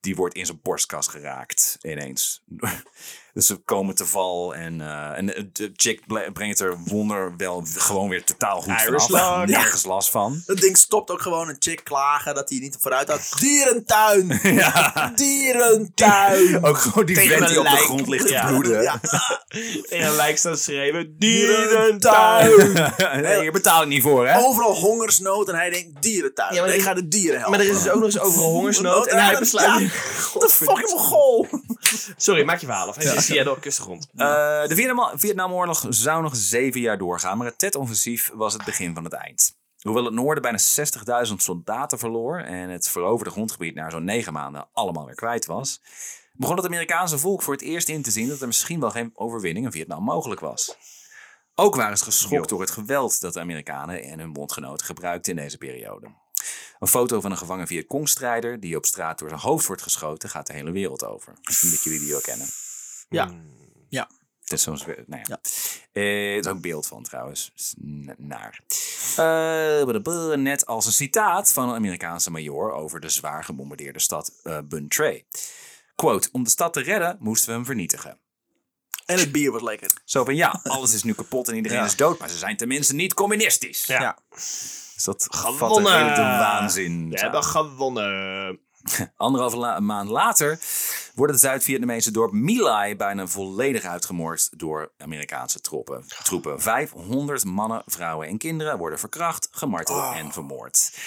S4: die wordt in zijn borstkas geraakt ineens. dus ze komen te val en, eh en eh, de chick ble- brengt er wonder wel gewoon weer totaal goed
S3: Irish
S4: vanaf.
S3: luck.
S4: Nergens last van.
S1: Dat ding stopt ook gewoon een chick klagen dat hij niet vooruit
S3: *laughs*
S1: had. Dierentuin!
S4: Ja.
S3: *laughs* Oh,
S1: Dierentuin!
S4: Ook gewoon die
S3: Tegen
S4: vent
S3: een
S4: die op de
S3: lijk.
S4: grond ligt te
S3: Ja.
S4: bloeden. *laughs*
S1: Ja.
S3: En dan lijkt staan schreeuwen... Dierentuin!
S1: Dierentuin!
S4: nee, je betaalt niet voor, hè?
S1: Overal hongersnood en hij denkt dierentuin.
S3: Ja, maar
S1: Nee, ik
S3: er-
S1: ga de dieren helpen.
S3: Maar er is dus ook nog eens *laughs* overal hongersnood. En hij besluit...
S1: Wat een fucking mogol!
S3: *laughs* Sorry, maak je verhaal af. Hij zit in Seattle op kustengrond.
S4: Eh, de Vietnam- Vietnamoorlog zou nog zeven jaar doorgaan, maar het Tet-offensief was het begin van het eind. Hoewel het noorden bijna 60.000 soldaten verloor en het veroverde grondgebied na zo'n negen maanden allemaal weer kwijt was, begon het Amerikaanse volk voor het eerst in te zien dat er misschien wel geen overwinning in Vietnam mogelijk was. Ook waren ze geschokt door het geweld dat de Amerikanen en hun bondgenoten gebruikten in deze periode. Een foto van een gevangen Vietcongstrijder die op straat door zijn hoofd wordt geschoten gaat de hele wereld over. Misschien dat jullie die wel kennen.
S1: Ja. Ja.
S4: Dat is soms weer, nou ja. Eh, er is ook een beeld van trouwens. Is n- Naar. Eh, blablabla, net als een citaat van een Amerikaanse major over de zwaar gebombardeerde stad eh Bun Tre. Quote, om de stad te redden moesten we hem vernietigen.
S1: En het bier was lekker.
S4: Zo van
S3: *laughs*
S4: ja, alles is nu kapot en iedereen
S1: Ja.
S4: is dood, maar ze zijn tenminste niet communistisch.
S3: Ja.
S1: Ja.
S4: Dus dat gat de
S3: Gewonnen.
S4: hele de waanzin.
S3: We
S4: samen.
S3: hebben gewonnen.
S4: Anderhalve la- maand later wordt het Zuid-Vietnamese dorp My Lai bijna volledig uitgemoord door Amerikaanse troepen. troepen. 500 mannen, vrouwen en kinderen worden verkracht, gemarteld en vermoord.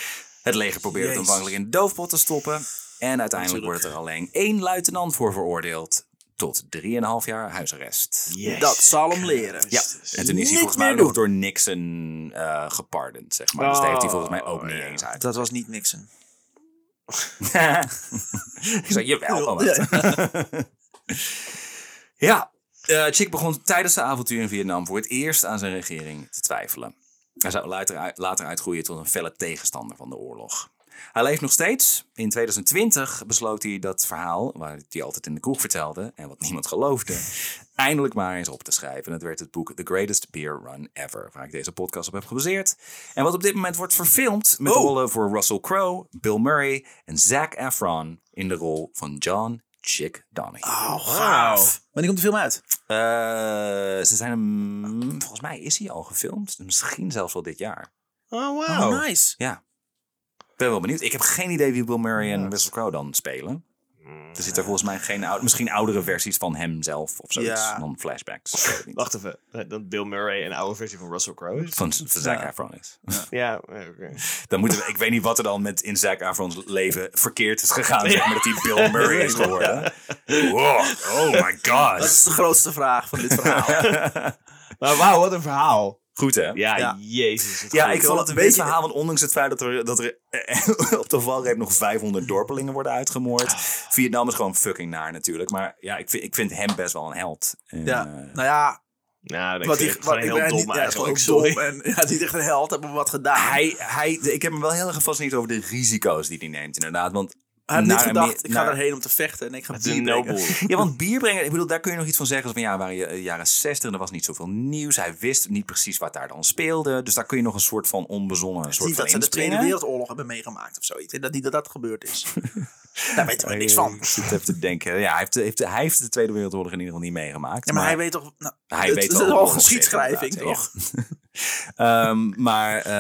S4: Het leger probeert
S1: Oh.
S4: het
S1: Jezus.
S4: aanvankelijk in de doofpot te stoppen. En uiteindelijk wordt er alleen één luitenant voor veroordeeld tot 3,5 jaar huisarrest.
S1: Dat zal hem leren.
S4: Ja, en toen is
S1: Niks
S4: hij volgens mij
S1: meer
S4: nog
S1: doen.
S4: door Nixon eh gepardend, zeg maar. Dus daar heeft hij volgens mij ook
S3: Oh,
S4: niet
S3: ja.
S4: eens uit.
S1: Dat was niet Nixon.
S4: *laughs* ik zei, jawel, Albert.
S1: Ja.
S4: *laughs* Ja, eh, Chick begon tijdens zijn avontuur in Vietnam voor het eerst aan zijn regering te twijfelen. Hij zou later, uit- later uitgroeien tot een felle tegenstander van de oorlog. Hij leeft nog steeds. In 2020 besloot hij dat verhaal, waar hij altijd in de kroeg vertelde en wat niemand geloofde, eindelijk maar eens op te schrijven. En dat werd het boek The Greatest Beer Run Ever, waar ik deze podcast op heb gebaseerd. En wat op dit moment wordt verfilmd met rollen voor Russell Crowe, Bill Murray en Zac Efron in de rol van John Chick Donahue.
S1: Oh, gaaf. Wanneer komt de film uit?
S4: Eh, ze zijn hem, volgens mij is hij al gefilmd, misschien zelfs wel dit jaar.
S3: Oh,
S1: Oh,
S3: wauw.
S1: nice.
S4: Ja. Ik ben wel benieuwd. Ik heb geen idee wie Bill Murray en Russell Crowe dan spelen. Er zitten volgens mij geen oude, misschien oudere versies van hemzelf of zoiets.
S1: Ja.
S4: Dan flashbacks. Ik weet het niet.
S3: Wacht even. Eh, Dat Bill Murray een oude versie van Russell Crowe is?
S4: Van, van Zac Efron is.
S3: Ja, eh, oké.
S4: Dan moeten we, ik weet niet wat er dan met in Zac Efrons leven verkeerd is gegaan. Zeg maar dat hij Bill Murray is geworden. Wow, oh my
S1: Dat *laughs*
S4: god. *laughs*
S1: is de grootste vraag van dit
S3: *laughs*
S1: verhaal.
S3: Maar wauw, wat een verhaal.
S4: Goed hè?
S3: Ja,
S1: Ja.
S3: jezus. het
S4: Ja,
S3: goed.
S4: ik vond het een beetje
S1: beetje-
S4: verhaal, want ondanks het feit dat er, dat er eh, *laughs* op de valreep nog
S1: Hm.
S4: 500 dorpelingen worden uitgemoord.
S1: Ah.
S4: Vietnam is gewoon fucking naar natuurlijk. Maar ja, ik vind, ik vind hem best wel een held. En,
S1: Ja.
S4: eh,
S1: Nou ja,
S3: Nou, dat
S1: wat
S3: vind
S1: ik,
S3: ik
S1: wat
S3: gewoon
S1: ik
S3: heel
S1: ben
S3: dom
S1: niet, ja,
S3: eigenlijk.
S1: gewoon
S3: Sorry.
S1: dom en *laughs* ja, niet echt een held, hebben wat gedaan. Hij,
S4: hij, hij, ik heb hem wel heel erg gefascineerd over de risico's die hij neemt inderdaad. Want
S1: heeft niet
S4: naar een
S1: gedacht,
S4: meer-
S1: ik ga
S4: naar-
S1: erheen om te vechten en ik ga
S3: Het is
S1: bier
S3: een
S1: drinken.
S3: nobel.
S4: Ja, want bier brengen, ik bedoel, daar kun je nog iets van zeggen. Als van ja, waren je eh, jaren 60 en er was niet zoveel nieuws. Hij wist niet precies wat daar dan speelde. Dus daar kun je nog een soort van onbezonnen soort
S1: Niet
S4: van
S1: dat ze de Tweede
S4: inspringen.
S1: Wereldoorlog hebben meegemaakt of zoiets. En dat niet dat dat gebeurd
S4: *laughs*
S1: is. Daar weten we niks van.
S4: Ik eh, zit even te denken. Ja, hij heeft, heeft, hij heeft de Tweede Wereldoorlog in ieder geval niet meegemaakt.
S1: Ja, maar hij weet toch... Nou,
S4: Hij
S1: het,
S4: weet
S1: het is
S4: wel
S1: al
S4: hoe het
S1: geschiedschrijving,
S4: zit, inderdaad,
S1: toch?
S4: ja. *laughs* Ehm, maar, eh,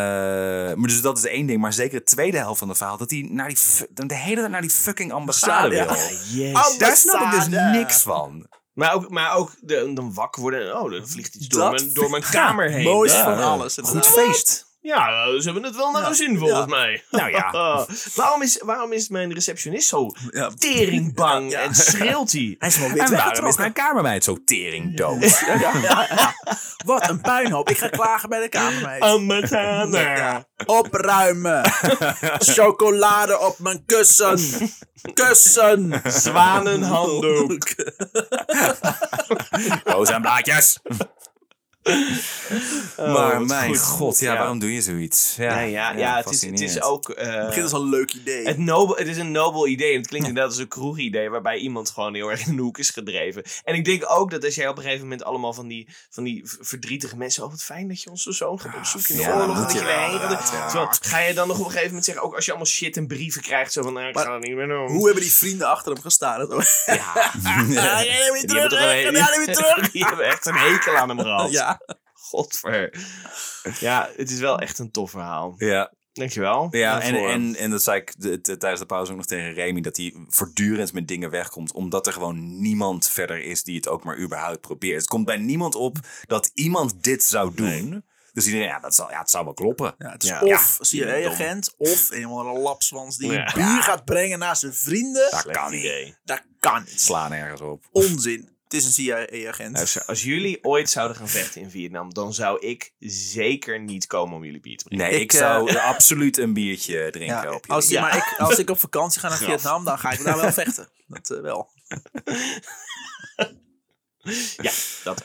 S4: maar dus dat is één ding. Maar zeker de tweede helft van het verhaal. Dat hij naar die, fu- de hele tijd naar die fucking ambassade
S1: Ja.
S4: wil.
S3: Jezus.
S4: Daar snap ik dus
S1: Ambassade.
S4: niks van.
S3: Maar ook, maar ook de, dan wakker worden. en, Oh, dan vliegt iets door
S4: Dat
S3: mijn, door mijn kamer heen.
S1: Mooiste
S3: Ja.
S1: van alles.
S4: Goed feest.
S3: Ja, ze hebben het wel naar hun zin volgens mij.
S4: Nou
S1: *laughs*
S4: ja.
S3: *laughs* waarom, is, waarom is mijn receptionist zo
S1: Ja.
S3: teringbang
S1: Ja.
S3: en schreeuwt hij?
S1: Hij is wel
S4: En
S1: wit
S4: waarom is
S1: weggetrokken.
S4: mijn kamermeid zo tering
S1: *laughs*
S4: dood?
S1: Wat een puinhoop. Ik ga klagen
S4: *laughs*
S1: bij de kamermeid.
S3: Ambassade.
S1: Ja,
S3: *laughs*
S1: opruimen. Chocolade op mijn kussen. Kussen.
S3: Zwanenhanddoek.
S4: Roos
S1: *laughs*
S4: en blaadjes.
S1: Oh,
S4: maar
S3: wat
S4: mijn
S3: goed.
S4: god, ja,
S3: Ja.
S4: waarom doe je zoiets? Ja,
S3: Ja, ja, ja, het, is, het is
S4: fascinerend.
S3: ook... eh,
S1: Het begint als een leuk idee.
S3: het, nobel, het is een nobel idee. En het klinkt inderdaad als een kroegidee waarbij iemand gewoon heel erg in de hoek is gedreven. En ik denk ook dat als jij op een gegeven moment allemaal van die, van die v- verdrietige mensen. Oh, wat fijn dat je ons zo zoon gaat opzoeken in de
S4: Ah, ja, dat
S3: oorlog.
S4: moet
S3: en Dat
S4: je
S3: je erheen
S4: wel,
S3: gaat.
S4: ja.
S3: Zo, Ga je dan nog op een gegeven moment zeggen, ook als je allemaal shit en brieven krijgt. Zo van, nou, ik
S1: Maar
S3: ga dat niet meer doen.
S1: Hoe hebben die vrienden achter hem gestaan? *laughs* Ja. Ga jij weer
S3: Die
S1: terug?
S3: hebben toch een-
S1: hè? Ga jij weer terug?
S3: *laughs* Die hebben echt een hekel aan hem
S4: *laughs*
S3: gehad.
S1: Ja.
S3: Godver. Ja, het is wel echt een tof verhaal.
S4: Ja,
S3: Dankjewel.
S4: ja en,
S3: Daarvoor.
S4: en, en dat zei ik de- de- tijdens de pauze ook nog tegen Remy, dat hij voortdurend met dingen wegkomt, omdat er gewoon niemand verder is die het ook maar überhaupt probeert. Het komt bij niemand op dat iemand dit zou doen. Dus iedereen, ja, dat zal, ja, het zou wel kloppen.
S1: Ja, het is
S3: Ja.
S1: of
S4: Ja.
S1: CIA-agent, of helemaal een lapswans die
S3: Ja.
S1: een bier gaat brengen naar zijn vrienden.
S4: Dat
S3: Slecht
S4: kan niet.
S3: idee.
S1: Dat kan niet.
S4: Slaan ergens op.
S1: Onzin. Het is een CIA-agent.
S3: Nou, als- als jullie ooit zouden gaan vechten in Vietnam, dan zou ik zeker niet komen om jullie bier te drinken.
S4: Nee, ik,
S1: Ik, eh,
S4: zou absoluut een biertje drinken
S1: Ja,
S4: op je.
S1: als,
S4: Ja.
S1: Maar ik, als ik op vakantie
S3: *laughs*
S1: ga naar Vietnam, dan ga ik daar wel vechten. Dat eh, wel.
S3: Ja, dat.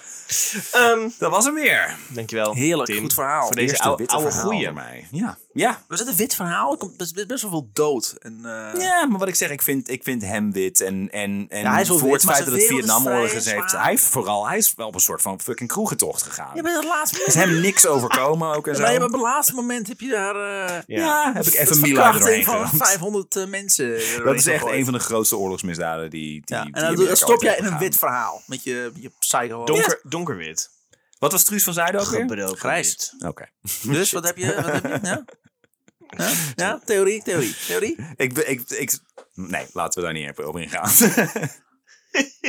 S3: Ehm
S4: Dat was hem weer.
S3: dankjewel.
S1: Heerlijk,
S3: Tim,
S1: goed verhaal.
S3: Voor deze
S4: Eerste
S3: oude,
S4: witte
S3: oude
S4: verhaal
S3: goeie.
S4: voor mij. Ja. ja.
S1: Was het een wit verhaal? Er komt best, best- best wel veel dood. En, eh,
S4: Ja, maar wat ik zeg, ik vind, ik vind hem wit. En, en, en
S1: Ja, hij is wel
S4: voor
S1: wit,
S4: het
S1: maar
S4: feit dat
S1: zijn
S4: het
S1: wereld is
S4: Vietnamoorlog
S1: vrij
S4: is, heeft
S1: zwaar.
S4: hij heeft vooral, hij is wel op een soort van fucking kroegentocht gegaan.
S1: Je bent het laatste
S4: is
S1: moment.
S4: hem niks overkomen ook en *laughs* zo.
S1: Maar je bent op het laatste moment heb je daar. eh,
S3: Ja.
S4: Ja, heb ik even
S1: het
S4: Mila er doorheen
S1: verkrachting van
S4: geramd.
S1: 500 eh, mensen.
S4: *laughs* Dat is echt een van de grootste oorlogsmisdaden die, die,
S1: Ja,
S4: die
S1: en dan,
S4: Amerika
S1: dan stop
S4: ooit
S1: jij
S4: heeft
S1: in een
S4: begaan.
S1: wit verhaal. Met je, je psycho.
S3: Donker, Donkerwit.
S4: Wat was Truus van Zuiden ook weer?
S3: Gebroken
S1: Grijs.
S3: wit.
S4: Oké.
S1: *laughs*
S4: *laughs*
S1: Dus wat heb je? Wat heb je? Ja? Ja? ja, theorie, theorie, theorie.
S4: Ik, be- ik, ik, nee, laten we daar niet over ingaan.
S3: *laughs*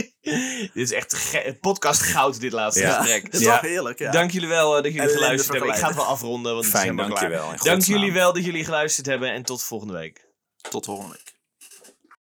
S4: *laughs*
S3: dit is echt ge- podcast goud, dit laatste
S4: Ja.
S3: gesprek.
S1: Dat is
S4: Ja.
S1: wel heerlijk, ja.
S3: Dank jullie wel eh, dat jullie
S1: En
S3: geluisterd hebben. Ik
S1: vergelijken.
S3: ga het wel afronden, want het
S4: Fijn,
S3: is helemaal klaar.
S4: dankjewel. In
S3: Dank
S4: godsnaam.
S3: jullie wel dat jullie geluisterd hebben en tot volgende week.
S1: Tot volgende week.